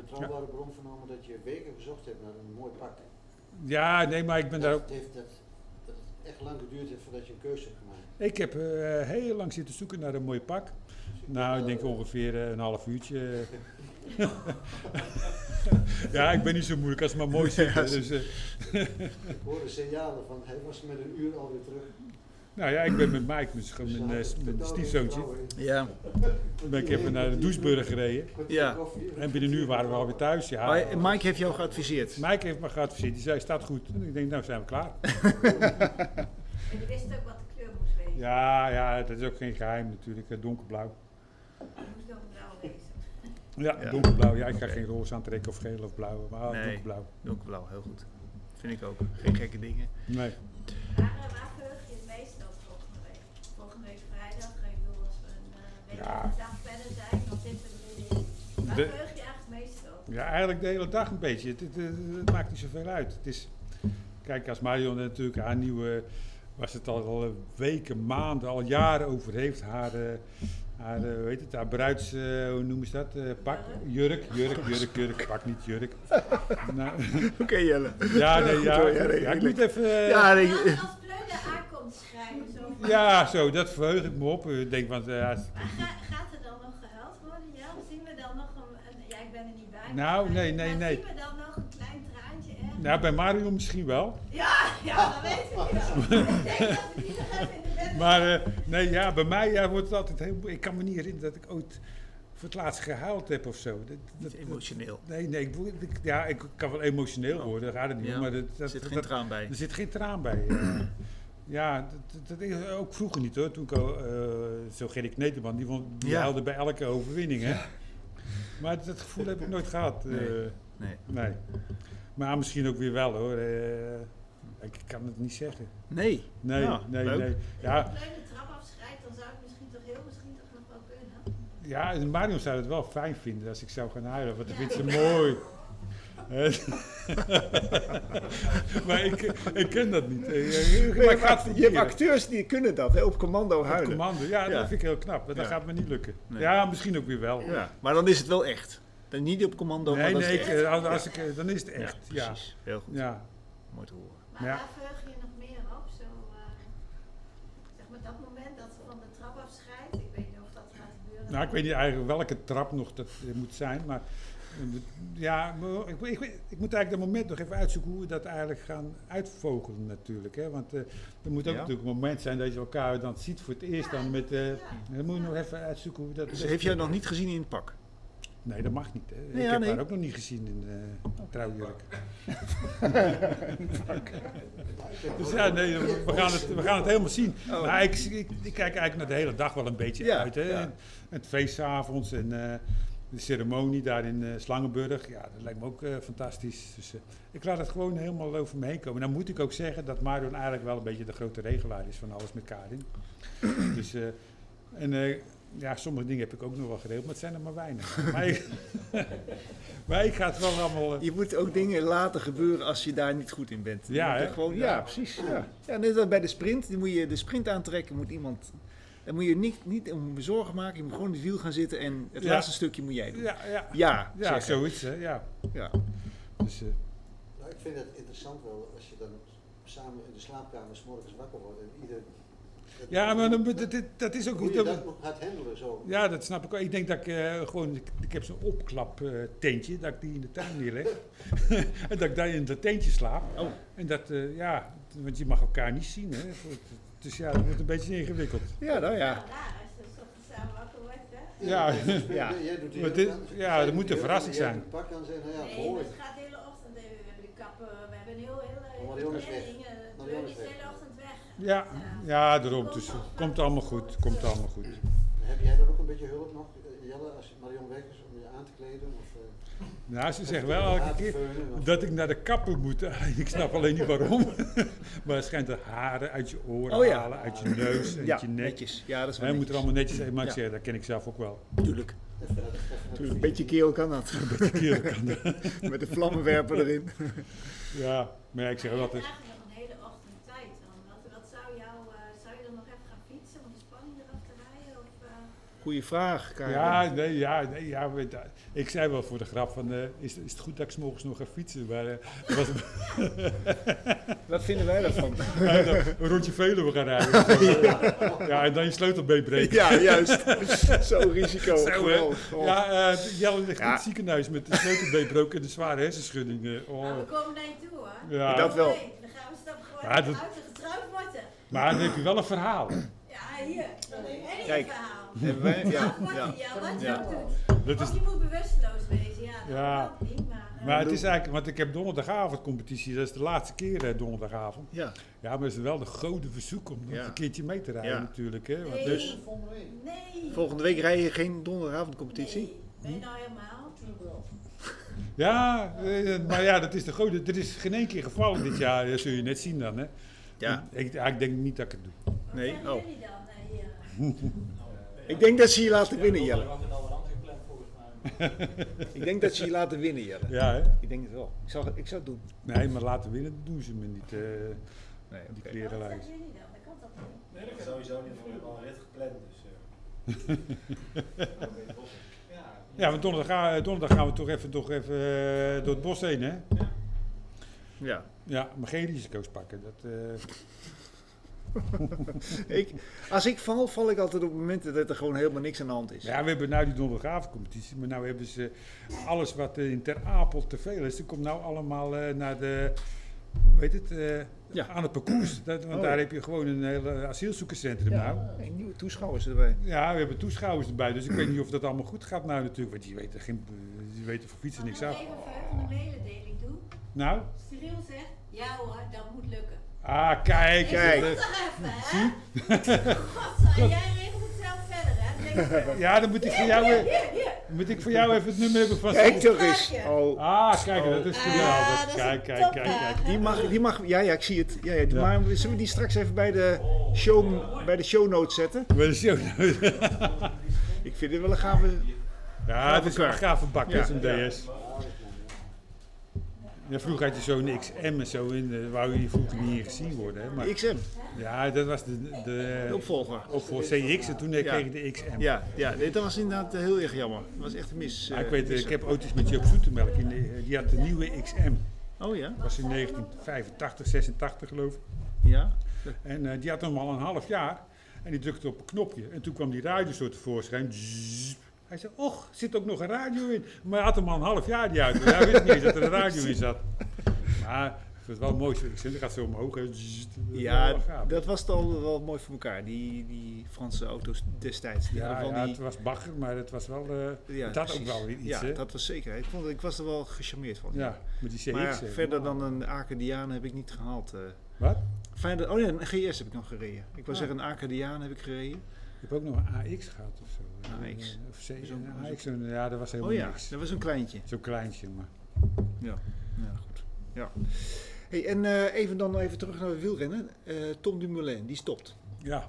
Speaker 4: betrouwbare bron vernomen dat je weken gezocht hebt naar een mooi pak.
Speaker 3: Ja, nee, maar ik ben daar ook.
Speaker 4: Het heeft dat, dat het echt lang geduurd heeft voordat je een keuze hebt gemaakt.
Speaker 3: Ik heb eh, heel lang zitten zoeken naar een mooi pak.
Speaker 4: Dus
Speaker 3: Nou, ik denk ongeveer eh, een half uurtje. ja, ik ben niet zo moeilijk als het maar mooi zit. Dus, eh,
Speaker 4: Ik hoorde signalen van hij was met een uur alweer terug.
Speaker 3: nou ja, ik ben met Mike, mijn, scho-
Speaker 4: Dus
Speaker 3: mijn,
Speaker 4: hij
Speaker 3: eh,
Speaker 4: had
Speaker 3: s- mijn
Speaker 4: totaal geen
Speaker 3: stiefzoontje.
Speaker 4: vertrouwen in.
Speaker 2: Ja.
Speaker 3: Ben ik even naar de Doesburg gereden.
Speaker 4: Kwartier
Speaker 2: Ja.
Speaker 4: koffie,
Speaker 3: En binnen nu waren we alweer thuis. Ja.
Speaker 2: Maar eh, Mike heeft jou geadviseerd.
Speaker 3: Mike heeft me geadviseerd. Die zei, staat goed. En ik denk, nou zijn we klaar.
Speaker 5: En je wist ook wat de kleur moest wezen.
Speaker 3: Ja, ja, dat is ook geen geheim natuurlijk. eh, Donkerblauw.
Speaker 5: Je moest ook blauw wezen.
Speaker 3: Ja,
Speaker 2: Ja.
Speaker 3: donkerblauw. Ja, ik ga geen roze aantrekken of geel of blauw. Maar
Speaker 2: Nee.
Speaker 3: donkerblauw.
Speaker 2: Donkerblauw, heel goed. Vind ik ook. Geen gekke dingen.
Speaker 3: Nee.
Speaker 5: Waar, eh, waar verheug je het meest op volgende week? Volgende week vrijdag, eh, ik bedoel als we een eh, week
Speaker 3: Ja.
Speaker 5: of een dag verder zijn, dan zitten we er middenin. Waar
Speaker 3: De-
Speaker 5: verheug je eigenlijk het meest op?
Speaker 3: Ja, eigenlijk de hele dag een beetje. Het, het- het- het maakt niet zoveel uit. Het is, kijk, als Marion er natuurlijk haar nieuwe, was het al, al weken, maanden, al jaren over heeft, haar, eh, haar eh, hoe heet het, haar bruids, eh, hoe noemen ze dat, eh, pak, jurk, jurk, jurk, jurk, pak niet jurk. Nou,
Speaker 2: Oké, Jelle.
Speaker 3: ja, nee,
Speaker 2: Goed
Speaker 3: ja,
Speaker 2: hoor, ja,
Speaker 3: ja,
Speaker 2: nee,
Speaker 3: ik moet even... eh,
Speaker 2: Ja, nee,
Speaker 5: Ja, als Pleuder aankomt schrijven, zo van,
Speaker 3: ja, zo, dat verheug ik me op. Ik denk, want eh, als-
Speaker 5: Maar ga- gaat er dan nog gehuild worden? Ja, Of zien we dan nog een, een- ja ik ben er niet bij.
Speaker 3: Nou,
Speaker 5: maar-
Speaker 3: nee, nee,
Speaker 5: maar
Speaker 3: nee.
Speaker 5: Zien we dan nog een klein traantje ergens?
Speaker 3: nou, bij Marion misschien wel.
Speaker 5: Ja, ja, dat weet ik wel. ik denk dat we die nog even in de bed
Speaker 3: Maar eh, nee, ja, bij mij ja, wordt het altijd heel moe- Ik kan me niet herinneren dat ik ooit voor het laatst gehuild heb of zo. Dat, dat,
Speaker 2: Emotioneel.
Speaker 3: nee, nee, ik, bedoel, ik- ja, ik kan wel emotioneel worden, daar gaat het niet om.
Speaker 2: Oh. Ja,
Speaker 3: Maar dat,
Speaker 2: Er
Speaker 3: dat,
Speaker 2: zit
Speaker 3: dat- dus-
Speaker 2: geen traan bij.
Speaker 3: er zit geen traan bij. eh. ja, dat, dat- dat is ook vroeger niet hoor. Toen ik al, eh, zo Gerrit Kneteman, die, won- die
Speaker 2: Ja.
Speaker 3: huilde bij elke overwinning. Hè? Maar dat gevoel heb ik nooit gehad. eh,
Speaker 2: Nee, nee.
Speaker 3: nee. Maar misschien ook weer wel hoor. eh, ik kan het niet zeggen.
Speaker 2: Nee.
Speaker 3: Nee,
Speaker 2: Nou,
Speaker 3: nee,
Speaker 2: leuk.
Speaker 3: nee.
Speaker 5: Als
Speaker 3: Ja,
Speaker 5: ik Pleuder de trap afschrijft, dan zou ik misschien toch heel misschien toch nog wel kunnen.
Speaker 3: Ja, en Marion zou het wel fijn vinden als ik zou gaan huilen, want dat vindt ze mooi. Eh, maar ik, ik ken dat niet. Ik-
Speaker 2: Nee,
Speaker 3: maar ik
Speaker 2: maar
Speaker 3: ga het
Speaker 2: je hebt
Speaker 3: proberen.
Speaker 2: acteurs die kunnen dat, hè, op commando
Speaker 3: Op
Speaker 2: huilen.
Speaker 3: commando, ja,
Speaker 2: Ja.
Speaker 3: dat vind ik heel knap. maar Dat
Speaker 2: Ja.
Speaker 3: gaat me niet lukken.
Speaker 2: Nee.
Speaker 3: Ja, misschien ook weer wel.
Speaker 2: Ja, maar dan is het wel echt. Dan niet op commando,
Speaker 3: Nee,
Speaker 2: maar dat
Speaker 3: nee,
Speaker 2: is
Speaker 3: ik,
Speaker 2: echt.
Speaker 3: eh, als, als ik, eh, dan is het echt.
Speaker 2: Ja,
Speaker 3: Ja, ja.
Speaker 2: precies. Heel goed. Mooi te horen.
Speaker 5: Maar
Speaker 3: Ja.
Speaker 5: waar verheug je je nog meer op? Zo, eh, zeg maar dat moment dat ze van de trap afscheidt. Ik weet niet of dat gaat gebeuren.
Speaker 3: Nou, ik weet niet eigenlijk welke trap nog dat eh, moet zijn, maar eh, ja, maar ik, ik, weet- ik moet eigenlijk dat moment nog even uitzoeken hoe we dat eigenlijk gaan uitvogelen natuurlijk. Hè? Want eh, er moet ook
Speaker 2: Ja.
Speaker 3: natuurlijk een moment zijn dat je elkaar dan ziet voor het eerst dan met... eh
Speaker 5: Ja.
Speaker 3: Dan moet je nog even uitzoeken hoe dat...
Speaker 2: Dus heeft jij nog niet gezien in het pak?
Speaker 3: Nee, dat mag niet. Hè?
Speaker 2: Nee,
Speaker 3: ik
Speaker 2: ja,
Speaker 3: heb
Speaker 2: nee. Oh.
Speaker 3: haar ook nog niet gezien in eh trouwjurk. Dus ja, nee, we we gaan het, we gaan het helemaal zien.
Speaker 2: Oh.
Speaker 3: Maar ik, ik, ik kijk eigenlijk naar de hele dag wel een beetje
Speaker 2: Ja,
Speaker 3: uit. Hè?
Speaker 2: ja.
Speaker 3: En Het feest 's avonds en eh, de ceremonie daar in eh, Slangenburg. Ja, dat lijkt me ook eh, fantastisch. Dus eh, ik laat het gewoon helemaal over me heen komen. Dan moet ik ook zeggen dat Marion eigenlijk wel een beetje de grote regelaar is van alles met Karin. dus, eh, en eh, ja, sommige dingen heb ik ook nog wel geregeld, maar het zijn er maar weinig. maar, ik, maar ik ga het wel allemaal... eh,
Speaker 2: Je moet ook dingen laten gebeuren als je daar niet goed in bent. Je
Speaker 3: Ja,
Speaker 2: moet er
Speaker 3: hè?
Speaker 2: gewoon, ja,
Speaker 3: Ja.
Speaker 2: precies. Ja. ja, net als bij de sprint. Dan moet je de sprint aantrekken. Moet iemand, dan moet je niet, niet om bezorgen maken. Je moet gewoon in het wiel gaan zitten. En het
Speaker 3: Ja.
Speaker 2: laatste stukje moet jij doen. Ja,
Speaker 3: ja, ja,
Speaker 2: ja,
Speaker 3: ja zoiets. Hè, ja.
Speaker 2: Ja.
Speaker 3: Dus, eh,
Speaker 4: Nou, ik vind het interessant wel als je dan samen in de slaapkamer 's morgens wakker wordt en ieder.
Speaker 3: ja, maar dan, moet- dat, dat- dat is ook
Speaker 4: Hoe
Speaker 3: goed.
Speaker 4: je
Speaker 3: dat-
Speaker 4: dat nog gaat handelen zo.
Speaker 3: Ja, dat snap ik wel. Ik denk dat ik eh, gewoon, ik, ik heb zo'n opklap eh, tentje, dat ik die in de tuin neerleg. en dat ik daar in dat tentje slaap.
Speaker 2: Oh.
Speaker 3: En dat, eh, ja, want je mag elkaar niet zien. Hè. Dus ja, dat wordt een beetje ingewikkeld.
Speaker 2: ja, nou ja.
Speaker 5: Ja, raar als je 's ochtends samen wakker wordt, hè?
Speaker 3: Ja.
Speaker 2: Ja.
Speaker 4: dus Jij doet die
Speaker 3: Maar
Speaker 4: jurk
Speaker 3: dit-
Speaker 4: aan,
Speaker 3: ja,
Speaker 4: zij
Speaker 3: dat
Speaker 4: doet
Speaker 3: moet
Speaker 4: die
Speaker 3: een
Speaker 4: jurk aan,
Speaker 3: verrassing
Speaker 4: jij
Speaker 3: zijn.
Speaker 4: doet het pak aan zeggen, nou ja,
Speaker 5: Nee,
Speaker 4: mooi.
Speaker 5: het gaat de hele ochtend. eh, We hebben de kappen, we hebben een heel, heel,
Speaker 4: Allemaal
Speaker 5: heel
Speaker 4: jongens weg.
Speaker 5: planning. eh, De
Speaker 4: Allemaal
Speaker 5: beurt
Speaker 4: jongens
Speaker 5: is de
Speaker 4: weg.
Speaker 5: hele ochtend weg.
Speaker 3: Ja, ja, daarom. Dus het komt allemaal goed, komt allemaal goed.
Speaker 4: Heb jij dan ook een beetje hulp nog, eh, Jelle, als Marion weg is, om je aan te kleden? Of, eh,
Speaker 3: Nou, ze zegt wel elke
Speaker 4: haar te
Speaker 3: keer
Speaker 4: veunen of-
Speaker 3: dat ik naar de kapper moet. ik snap alleen niet waarom. maar het schijnt de haren uit je oren
Speaker 2: Oh ja.
Speaker 3: halen, uit je neus, uit
Speaker 2: Ja,
Speaker 3: je nek.
Speaker 2: netjes. Ja, dat is wel
Speaker 3: Hij moet er
Speaker 2: netjes.
Speaker 3: allemaal netjes zijn, maar ik
Speaker 2: Ja.
Speaker 3: zeg, dat ken ik zelf ook wel.
Speaker 2: Tuurlijk.
Speaker 4: even naar de- even naar de
Speaker 2: Een beetje keel kan dat.
Speaker 3: Kerel kan dat.
Speaker 2: Met de vlammenwerper erin.
Speaker 3: Ja, maar ja, ik zeg wel
Speaker 5: We
Speaker 3: altijd.
Speaker 5: vragen nog een hele ochtend tijd. dan. Wat, wat zou, jou, eh, zou je dan nog even gaan fietsen om de spanning eraf te rijden? Of, eh,
Speaker 2: Goeie vraag, Karin.
Speaker 3: Ja, nee, ja, nee, ja, weet je, ik zei wel voor de grap van, eh, is, is het goed dat ik 's morgens nog ga fietsen? Maar eh, het was
Speaker 2: Wat vinden wij daarvan?
Speaker 3: een rondje Veluwe gaan rijden. ja. en dan je sleutelbeen breken.
Speaker 2: Ja, juist. Zo'n risico.
Speaker 3: Zo, hè.
Speaker 2: Geweldig. Oh.
Speaker 3: Ja, eh Jelle ligt in
Speaker 2: Ja.
Speaker 3: het ziekenhuis met de sleutelbeen broken en de zware hersenschudding. eh,
Speaker 5: nou,
Speaker 3: oh.
Speaker 5: we komen naar je toe hoor.
Speaker 3: Ja.
Speaker 2: Dat wel.
Speaker 5: Nee, dan gaan we stap gewoon
Speaker 3: Maar dat-
Speaker 5: uit de getrouwd worden.
Speaker 3: Maar dan heb je wel een verhaal.
Speaker 5: Ja, hier. Dat is
Speaker 2: Kijk.
Speaker 5: een Kijk. verhaal.
Speaker 2: Hebben wij-
Speaker 5: Ja,
Speaker 2: ja,
Speaker 5: ja,
Speaker 2: ja.
Speaker 5: ja, wat je
Speaker 2: Ja.
Speaker 5: ook doet.
Speaker 3: Dat is,
Speaker 5: Of je moet bewusteloos wezen, ja. Dat
Speaker 3: Ja.
Speaker 5: kan niet, maar... eh,
Speaker 3: maar het is eigenlijk, want ik heb donderdagavond competitie, dat is de laatste keer eh, donderdagavond.
Speaker 2: Ja.
Speaker 3: Ja, maar het is wel de grote verzoek om nog
Speaker 2: Ja.
Speaker 3: een keertje mee te rijden
Speaker 2: Ja.
Speaker 3: natuurlijk. Hè? Want-
Speaker 5: eh, nee,
Speaker 2: dus-
Speaker 4: volgende week.
Speaker 5: nee.
Speaker 2: Volgende week rij je geen donderdagavondcompetitie?
Speaker 5: Nee, ben je nou helemaal?
Speaker 3: Ja, eh, maar ja, dat is de grote. Er is geen één keer gevallen dit jaar, dat zul je net zien dan. Hè?
Speaker 2: Ja.
Speaker 3: Ik, ja, ik denk niet dat ik het doe.
Speaker 5: Wat
Speaker 2: Nee,
Speaker 5: zeggen
Speaker 2: oh.
Speaker 5: jullie dan eh, hier?
Speaker 2: Ik denk dat ze je laten winnen,
Speaker 6: Ja,
Speaker 2: Jelle.
Speaker 6: we hadden al een andere plan volgens mij.
Speaker 2: Ik denk dat ze je laten winnen, Jelle.
Speaker 3: Ja, hè?
Speaker 2: Ik denk het wel. Ik zou, ik zou het doen.
Speaker 3: Nee, maar laten winnen doen ze me niet. eh,
Speaker 2: Nee,
Speaker 3: die
Speaker 5: Wat
Speaker 3: klerenlijst.
Speaker 5: zeggen jullie dan? Dat kan toch niet?
Speaker 6: Nee, dat sowieso niet, want we hebben al een rit gepland. Dus, eh. ja,
Speaker 3: Ja, want donderdag, ga- eh, donderdag gaan we toch even, toch even eh, door het bos heen, hè?
Speaker 2: Ja.
Speaker 3: Ja, maar geen risico's pakken. Dat, eh,
Speaker 2: Ik, als ik val, val ik altijd op momenten dat er gewoon helemaal niks aan de hand is.
Speaker 3: ja, we hebben nu die donderdagavondcompetitie, maar nu hebben ze alles wat eh, in Ter Apel te veel is. Dat komt nou allemaal eh, naar de, hoe heet het, eh,
Speaker 2: Ja.
Speaker 3: aan het parcours. Dat, want
Speaker 2: Oh.
Speaker 3: daar heb je gewoon een hele asielzoekerscentrum nou.
Speaker 2: Ja, en nieuwe toeschouwers erbij.
Speaker 3: Ja, we hebben toeschouwers erbij, dus ik weet niet of dat allemaal goed gaat nou natuurlijk. Want je weet er, geen, je weet er voor fietsen
Speaker 5: Mag ik
Speaker 3: niks
Speaker 5: nog
Speaker 3: af.
Speaker 5: even een verheugende mededeling doen?
Speaker 3: Nou?
Speaker 5: Cyril zegt, ja hoor, dat moet lukken.
Speaker 3: Ah, kijk.
Speaker 2: Kijk.
Speaker 5: Dat
Speaker 3: dat-
Speaker 5: toch even, hè? Godzijdank, jij regelt het zelf verder, hè? Denk ik.
Speaker 3: Ja, dan moet ik voor jou,
Speaker 5: Hier,
Speaker 3: eh,
Speaker 5: hier, hier.
Speaker 3: moet ik voor jou even het nummer hebben van...
Speaker 2: Kijk toch eens. Oh,
Speaker 3: Ah, kijk, dat is
Speaker 5: Ah,
Speaker 3: geweldig.
Speaker 5: dat is
Speaker 3: kijk,
Speaker 5: een eh.
Speaker 3: kijk,
Speaker 5: topper.
Speaker 3: kijk, kijk.
Speaker 2: die mag, die mag, ja, ja, ik zie het. Ja, ja, die-
Speaker 3: Ja.
Speaker 2: Maar zullen we die straks even bij de, show, bij de show notes zetten?
Speaker 3: Maar dat is ook-
Speaker 2: Ik vind het wel een gave...
Speaker 3: Ja, het is een gave bak, hè, zo'n DS. Ja, vroeger had je zo'n XM en zo in, eh, wou je vroeger niet in gezien worden. Hè? Maar,
Speaker 2: XM,
Speaker 3: ja, dat was de, de
Speaker 2: de opvolger.
Speaker 3: op voor CX en toen eh,
Speaker 2: Ja.
Speaker 3: kreeg ik de XM.
Speaker 2: Ja, ja, dit was inderdaad eh, heel erg jammer. Dat was echt een mis.
Speaker 3: Ja,
Speaker 2: eh,
Speaker 3: ik, weet, eh,
Speaker 2: mis.
Speaker 3: ik heb ooit eens met Joop Zoetemelk, in de- die had de nieuwe XM.
Speaker 2: Oh ja?
Speaker 3: Dat was in 1985, 86 geloof ik.
Speaker 2: Ja?
Speaker 3: En eh, die had hem al een half jaar. En die drukte op een knopje. En toen kwam die radio zo tevoorschijn. Zzz. Hij zei, och, zit ook nog een radio in. Maar hij had hem al een half jaar niet uit. Dus hij wist niet eens dat er een radio in zat. Maar het was wel mooi. Ik zei, dat gaat zo omhoog. hè. Zzz.
Speaker 2: Ja,
Speaker 3: Wel gaaf.
Speaker 2: dat was al wel mooi voor elkaar, die, die Franse auto's destijds. Die
Speaker 3: ja,
Speaker 2: hadden van
Speaker 3: ja,
Speaker 2: die-
Speaker 3: het was bagger, maar het was wel... eh
Speaker 2: ja,
Speaker 3: het had ook
Speaker 2: precies.
Speaker 3: wel weer iets,
Speaker 2: Ja,
Speaker 3: hè?
Speaker 2: dat was zeker. Ik, vond, ik was er wel gecharmeerd van.
Speaker 3: ja, met die CX.
Speaker 2: Maar ja,
Speaker 3: hè.
Speaker 2: verder dan een Acadiaan heb ik niet gehaald. eh.
Speaker 3: Wat?
Speaker 2: Fijn dat, oh ja, een GS heb ik nog gereden. Ik wou
Speaker 3: Ah.
Speaker 2: zeggen, een Acadiaan heb ik gereden.
Speaker 3: Ik heb ook nog een AX gehad of zo. Eh,
Speaker 2: AX.
Speaker 3: Of C,
Speaker 2: Zo'n-
Speaker 3: een AX. zo'n- Ja, dat was helemaal
Speaker 2: Oh ja,
Speaker 3: niks.
Speaker 2: dat was een kleintje.
Speaker 3: Zo'n kleintje, maar...
Speaker 2: Ja, goed. Ja. Hey, en eh, even dan even terug naar het wielrennen. Eh, Tom Dumoulin, die stopt.
Speaker 3: Ja,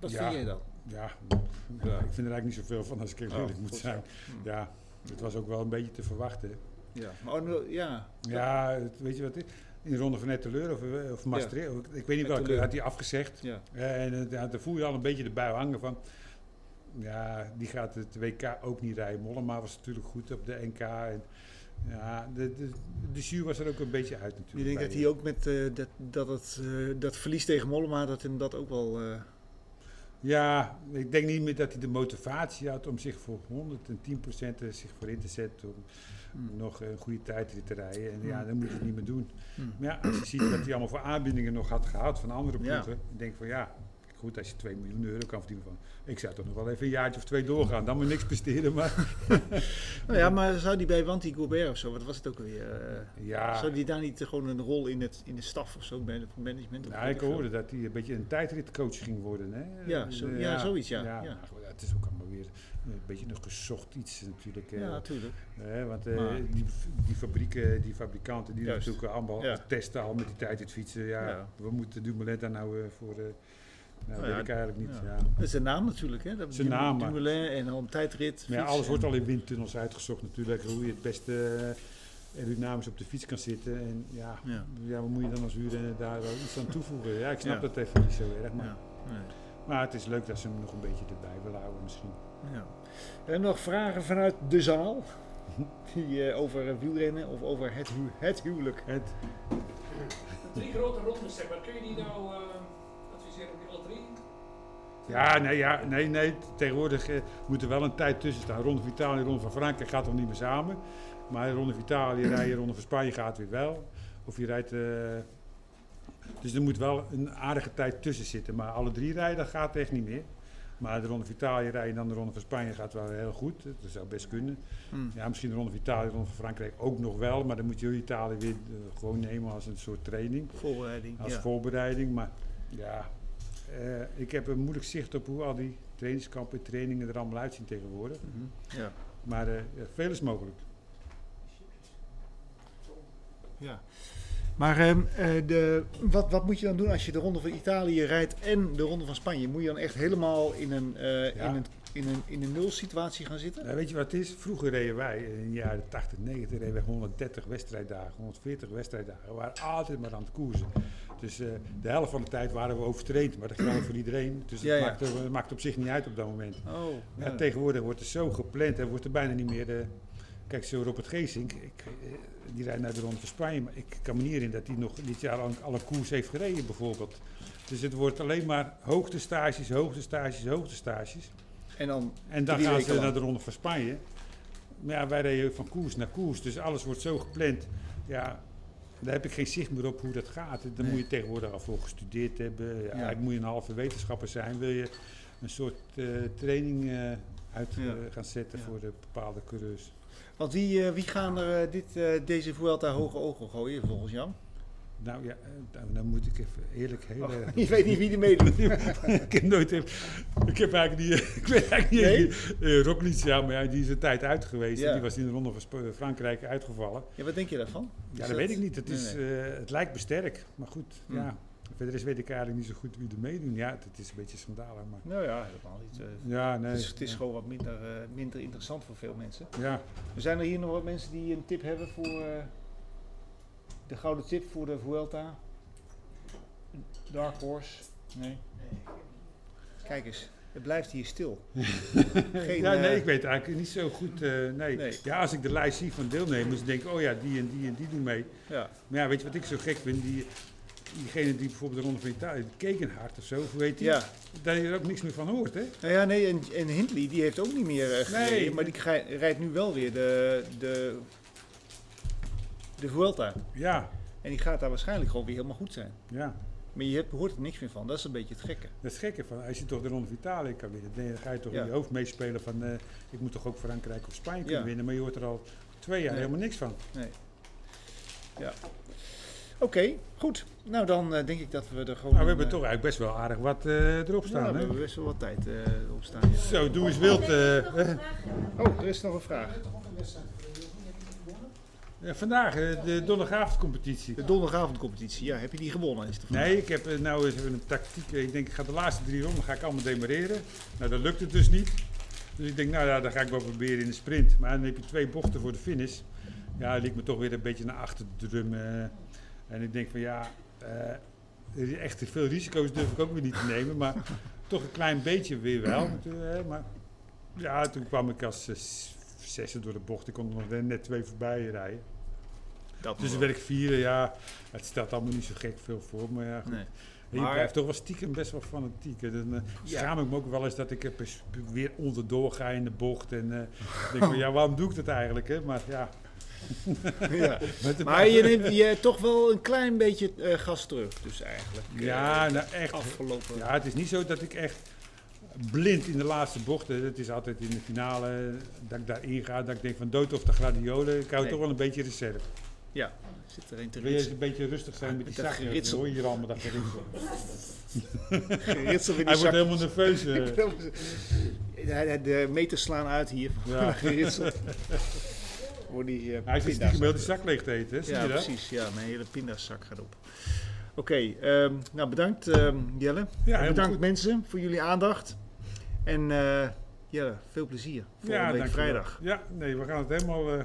Speaker 2: Wat
Speaker 3: Ja.
Speaker 2: vind jij dan?
Speaker 3: Ja, ja, ik vind er eigenlijk niet zoveel van als ik heel
Speaker 2: Oh,
Speaker 3: eerlijk moet
Speaker 2: goed
Speaker 3: zijn.
Speaker 2: Hm.
Speaker 3: Ja, het was ook wel een beetje te verwachten.
Speaker 2: Ja. Maar, oh, nou, ja.
Speaker 3: Ja, het- weet je wat het is? In de ronde van Netteleur of, eh, of Maastricht, of ik- ik weet niet welke,
Speaker 2: Netteleur.
Speaker 3: had hij afgezegd.
Speaker 2: Ja.
Speaker 3: Eh, En eh, ja, daar voel je al een beetje de bui hangen van... Ja, die gaat het WK ook niet rijden. Mollema was natuurlijk goed op de NK. En, ja, de, de, de jury was er ook een beetje uit natuurlijk.
Speaker 2: Je denkt
Speaker 3: bij
Speaker 2: dat hij ook met eh, dat, dat, het, eh, dat verlies tegen Mollema, dat hem dat ook wel... eh,
Speaker 3: Ja, ik denk niet meer dat hij de motivatie had om zich voor 110% er zich voor in te zetten om
Speaker 2: Mm.
Speaker 3: nog een goede tijdrit te rijden. En ja,
Speaker 2: Mm.
Speaker 3: dan moet je het niet meer doen.
Speaker 2: Mm.
Speaker 3: Maar ja, als je ziet wat hij allemaal voor aanbindingen nog had gehaald van andere
Speaker 2: Ja.
Speaker 3: ploegen, dan denk ik van ja, goed, als je 2 miljoen euro kan verdienen van, ik zou toch nog wel even een jaartje of twee doorgaan, dan maar niks presteren. Maar
Speaker 2: Nou ja, maar zou die bij Wanty Gobert of zo, wat was het ook alweer? eh,
Speaker 3: ja,
Speaker 2: Zou die daar niet eh, gewoon een rol in, het, in de staf of zo, bij het management? of
Speaker 3: nou,
Speaker 2: weet
Speaker 3: ik
Speaker 2: veel?
Speaker 3: hoorde dat hij een beetje een tijdritcoach ging worden. Hè?
Speaker 2: Ja, zo-
Speaker 3: Eh,
Speaker 2: ja, zoiets, ja, ja.
Speaker 3: maar goed, het is ook allemaal weer een beetje nog gezocht iets natuurlijk.
Speaker 2: Ja,
Speaker 3: eh,
Speaker 2: natuurlijk.
Speaker 3: Hè, want eh,
Speaker 2: Maar-
Speaker 3: die, die fabrieken, die fabrikanten, die
Speaker 2: Juist.
Speaker 3: natuurlijk allemaal
Speaker 2: Ja.
Speaker 3: testen al met die tijd het fietsen. Ja,
Speaker 2: Ja.
Speaker 3: we moeten Dumoulin daar nou eh, voor. eh nou,
Speaker 2: Nou
Speaker 3: weet
Speaker 2: ja,
Speaker 3: ik eigenlijk niet.
Speaker 2: ja.
Speaker 3: Ja.
Speaker 2: Dat is zijn naam natuurlijk, hè? Dat
Speaker 3: Zijn naam, maar-
Speaker 2: Dumoulin en dan tijdrit,
Speaker 3: Maar ja,
Speaker 2: fiets
Speaker 3: alles
Speaker 2: en-
Speaker 3: wordt al in windtunnels uitgezocht natuurlijk. Hoe je het beste eh, aerodynamisch op de fiets kan zitten. En ja,
Speaker 2: Ja.
Speaker 3: ja. wat moet je dan als huurder eh, daar wel iets aan toevoegen? Ja, ik snap
Speaker 2: Ja.
Speaker 3: dat even niet zo erg. Maar,
Speaker 2: Ja, nee.
Speaker 3: maar het is leuk dat ze hem nog een beetje erbij willen houden misschien.
Speaker 2: Ja. En nog vragen vanuit de zaal? Die, eh, over eh, wielrennen of over het, hu- het huwelijk?
Speaker 3: Het,
Speaker 7: De drie grote rondes, zeg maar, kun je die nou eh, adviseren op die alle drie?
Speaker 3: ja, nee, ja, nee, nee. Tegenwoordig eh, moet er wel een tijd tussen staan. Ronde van Italië en Ronde van Frankrijk gaat dan niet meer samen. Maar Ronde van Italië rijden, Ronde van Spanje gaat weer wel. Of je rijdt... eh, dus er moet wel een aardige tijd tussen zitten. Maar alle drie rijden, dat gaat echt niet meer. Maar de Ronde van Italië rijden en dan de Ronde van Spanje gaat wel heel goed. Dat zou best kunnen.
Speaker 2: Hmm.
Speaker 3: Ja, misschien de Ronde van Italië, de Ronde van Frankrijk ook nog wel. Maar dan moet je Italië weer eh, gewoon nemen als een soort training.
Speaker 2: Voorbereiding.
Speaker 3: als
Speaker 2: ja.
Speaker 3: voorbereiding. Maar ja, eh, ik heb een moeilijk zicht op hoe al die trainingskampen en trainingen er allemaal uitzien tegenwoordig.
Speaker 2: Mhm. ja.
Speaker 3: Maar eh, ja, veel is mogelijk.
Speaker 2: ja. Maar ehm, eh, de, wat, wat moet je dan doen als je de Ronde van Italië rijdt en de Ronde van Spanje? Moet je dan echt helemaal in een, eh,
Speaker 3: Ja.
Speaker 2: in een, in een, in een nulsituatie gaan zitten?
Speaker 3: Nou, weet je wat het is? Vroeger reden wij in de jaren 80, 90 reden wij 130 wedstrijddagen, 140 wedstrijddagen. We waren altijd maar aan het koersen. Dus eh, de helft van de tijd waren we overtraind, maar dat geldt voor iedereen. Dus het
Speaker 2: Ja, ja.
Speaker 3: Maakt, eh, maakt op zich niet uit op dat moment.
Speaker 2: Oh,
Speaker 3: Eh, Ja, tegenwoordig wordt er zo gepland en wordt er bijna niet meer. eh, kijk, zo Robert Geesink, ik, eh, die rijdt naar de Ronde van Spanje, maar ik kan me niet in dat hij nog dit jaar al alle koers heeft gereden, bijvoorbeeld. Dus het wordt alleen maar hoogtestages, hoogtestages, hoogtestages.
Speaker 2: En dan,
Speaker 3: En dan
Speaker 2: Drie
Speaker 3: gaan
Speaker 2: weken
Speaker 3: ze
Speaker 2: lang.
Speaker 3: naar de Ronde van Spanje. Maar ja, wij reden van koers naar koers, dus alles wordt zo gepland. Ja, daar heb ik geen zicht meer op hoe dat gaat. Dan moet je tegenwoordig al voor gestudeerd hebben. Ja,
Speaker 2: Ja.
Speaker 3: eigenlijk moet je een halve wetenschapper zijn. Wil je een soort eh, training eh, uit
Speaker 2: Ja.
Speaker 3: eh, gaan zetten
Speaker 2: Ja.
Speaker 3: voor de bepaalde coureurs?
Speaker 2: want wie, eh, wie gaan er eh, dit, eh, deze Vuelta hoge ogen gooien volgens jou?
Speaker 3: Nou ja, eh, dan, dan moet ik even eerlijk heel
Speaker 2: Oh,
Speaker 3: erg-
Speaker 2: je weet niet wie die meedoet.
Speaker 3: ik heb nooit. even- Ik heb eigenlijk niet. Ik weet eigenlijk niet. eh Roglic, ja, maar ja, die is een tijd uit geweest.
Speaker 2: Ja.
Speaker 3: Die was in de Ronde van Sp- Frankrijk uitgevallen.
Speaker 2: Ja, wat denk je daarvan?
Speaker 3: Ja,
Speaker 2: Is
Speaker 3: dat, weet ik niet. Het,
Speaker 2: Dus Nee,
Speaker 3: is,
Speaker 2: nee.
Speaker 3: eh, het lijkt me sterk. Maar goed,
Speaker 2: Hmm.
Speaker 3: ja. Verder is weet ik eigenlijk niet zo goed wie er meedoen. Ja, het, het is een beetje schandalig, maar...
Speaker 2: Nou ja, helemaal niet. eh,
Speaker 3: Ja, nee.
Speaker 2: het is, het is
Speaker 3: ja.
Speaker 2: gewoon wat minder, eh, minder interessant voor veel mensen.
Speaker 3: Ja,
Speaker 2: Er Zijn er hier nog wat mensen die een tip hebben voor eh, de gouden tip voor de Vuelta? Dark Horse? Nee. Kijk eens, het blijft hier stil. Geen,
Speaker 3: ja nee,
Speaker 2: eh,
Speaker 3: ik weet eigenlijk niet zo goed. eh, nee.
Speaker 2: Nee.
Speaker 3: Ja, als ik de lijst zie van deelnemers, denk ik, oh ja, die en die en die doen mee.
Speaker 2: Ja,
Speaker 3: Maar ja, weet je wat ik zo gek vind? Die, diegene die bijvoorbeeld de Ronde van Italië, Kekenhard of zo, hoe weet die?
Speaker 2: ja.
Speaker 3: Daar je er ook niks meer van hoort, hè?
Speaker 2: Nou ja, nee, en, en Hindley die heeft ook niet meer eh, gereden,
Speaker 3: Nee.
Speaker 2: maar die grij- rijdt nu wel weer de, de, de Vuelta.
Speaker 3: Ja,
Speaker 2: En die gaat daar waarschijnlijk gewoon weer helemaal goed zijn.
Speaker 3: ja.
Speaker 2: Maar je hebt- hoort er niks meer van, dat is een beetje het gekke.
Speaker 3: Dat is gekke van, als je toch de Ronde van Italië kan winnen, dan ga je toch
Speaker 2: Ja.
Speaker 3: in je hoofd meespelen van, eh, ik moet toch ook Frankrijk of Spanje kunnen
Speaker 2: Ja.
Speaker 3: winnen, maar je hoort er al twee jaar
Speaker 2: Nee.
Speaker 3: helemaal niks van. Nou,
Speaker 2: Oké, goed. Nou, dan eh, denk ik dat we er gewoon... eh,
Speaker 3: Nou, we hebben
Speaker 2: een,
Speaker 3: toch eigenlijk best wel aardig wat eh, erop
Speaker 2: eh,
Speaker 3: staan,
Speaker 2: ja, we
Speaker 3: hè?
Speaker 2: hebben best wel wat tijd eh op staan. ja.
Speaker 3: Zo, doe eens wild. eh, eh.
Speaker 2: Oh, er is nog een vraag.
Speaker 3: Ja, vandaag, eh, de donderdagavondcompetitie.
Speaker 2: De donderdagavondcompetitie, ja, heb je die gewonnen? Is de vraag.
Speaker 3: Nee, ik heb eh, nou eens even een tactiek. Ik denk, ik ga de laatste drie ronden ga ik allemaal demareren. Nou, dat lukt het dus niet. Dus ik denk, nou ja, dan ga ik wel proberen in de sprint. Maar dan heb je twee bochten voor de finish. Ja, liet me toch weer een beetje naar achter drummen. En ik denk van ja, eh, echt te veel risico's durf ik ook weer niet te nemen. Maar toch een klein beetje weer wel. natuurlijk, hè. Maar ja, toen kwam ik als eh, s- zesde door de bocht. Ik kon er nog net twee voorbij rijden.
Speaker 2: Dat
Speaker 3: Dus
Speaker 2: nog
Speaker 3: werk vieren, ja, het staat allemaal niet zo gek veel voor. Maar ja, goed.
Speaker 2: Nee.
Speaker 3: En je
Speaker 2: Maar-
Speaker 3: blijft toch wel stiekem best wel fanatiek. hè. Dan eh,
Speaker 2: Ja.
Speaker 3: schaam ik me ook wel eens dat ik er pers- weer onderdoor ga in de bocht. En eh, denk van, ja, waarom doe ik dat eigenlijk? Hè? Maar ja,
Speaker 2: wel. ja.
Speaker 3: met de-
Speaker 2: Maar je neemt je toch wel een klein beetje eh, gas terug, dus eigenlijk. eh,
Speaker 3: ja, nou echt.
Speaker 2: Afgelopen.
Speaker 3: Ja, het is niet zo dat ik echt blind in de laatste bocht, hè, het is altijd in de finale, eh, dat ik daarin ga, dat ik denk van dood of de gladiolen. Ik hou
Speaker 2: Nee.
Speaker 3: toch wel een beetje reserve.
Speaker 2: Zit er een te
Speaker 3: Wil je eens
Speaker 2: ritsen.
Speaker 3: een beetje rustig zijn met die
Speaker 2: Met dat
Speaker 3: zak? Dan
Speaker 2: geritsel.
Speaker 3: hoor je hier allemaal dat geritsel.
Speaker 2: Geritsel in die
Speaker 3: Hij wordt
Speaker 2: zak.
Speaker 3: helemaal nerveus. eh.
Speaker 2: De, de meters slaan uit hier.
Speaker 3: Ja.
Speaker 2: Geritseld. Voor die eh,
Speaker 3: Hij zit
Speaker 2: pinda's.
Speaker 3: stiekem heel die zak leeg te eten, hè? zie
Speaker 2: Ja,
Speaker 3: je dat?
Speaker 2: precies. Ja, mijn hele pindaszak gaat op. Oké, ehm, nou bedankt ehm, Jelle.
Speaker 3: Ja,
Speaker 2: En
Speaker 3: heel
Speaker 2: bedankt
Speaker 3: goed.
Speaker 2: mensen voor jullie aandacht. En eh, Jelle, veel plezier. Volgende week
Speaker 3: dankjewel.
Speaker 2: vrijdag.
Speaker 3: Ja, nee, we gaan het helemaal eh,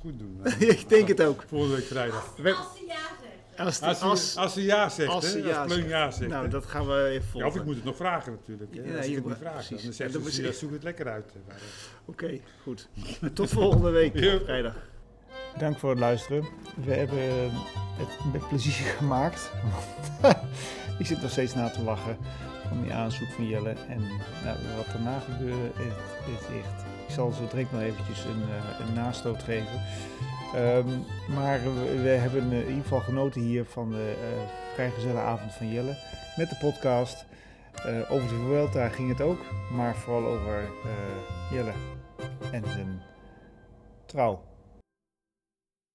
Speaker 3: goed doen. hè.
Speaker 2: Ik denk het ook.
Speaker 3: Volgende week vrijdag.
Speaker 2: We-
Speaker 5: Als ze ja zeggen.
Speaker 2: Als, de-
Speaker 3: Als,
Speaker 2: als,
Speaker 3: ze, als ze ja zegt,
Speaker 2: als
Speaker 3: als
Speaker 2: ze
Speaker 3: hè?
Speaker 2: ja
Speaker 3: als Pleun ja zegt.
Speaker 2: nou,
Speaker 3: hè.
Speaker 2: dat gaan we even
Speaker 3: ja,
Speaker 2: volgen.
Speaker 3: of ik moet het nog vragen natuurlijk. Hè?
Speaker 2: Ja,
Speaker 3: als
Speaker 2: je
Speaker 3: ik het niet
Speaker 2: moet-
Speaker 3: vraag,
Speaker 2: precies.
Speaker 3: dan
Speaker 2: Ja,
Speaker 3: zegt
Speaker 2: dat
Speaker 3: ze,
Speaker 2: moet-
Speaker 3: ja, zoek het lekker uit. hè. Maar, eh,
Speaker 2: Oké, goed. Tot volgende week,
Speaker 3: Ja.
Speaker 2: vrijdag. Dank voor het luisteren. We hebben eh, het met plezier gemaakt. Want Ik zit nog steeds na te lachen van die aanzoek van Jelle. En nou, wat daarna gebeurde, het is echt. Ik zal zo direct nog eventjes een, eh, een nastoot geven. Ehm, maar we, we hebben eh, in ieder geval genoten hier van de eh vrijgezelle avond van Jelle. Met de podcast. Eh, over de Vuelta ging het ook. Maar vooral over eh, Jelle en zijn trouw.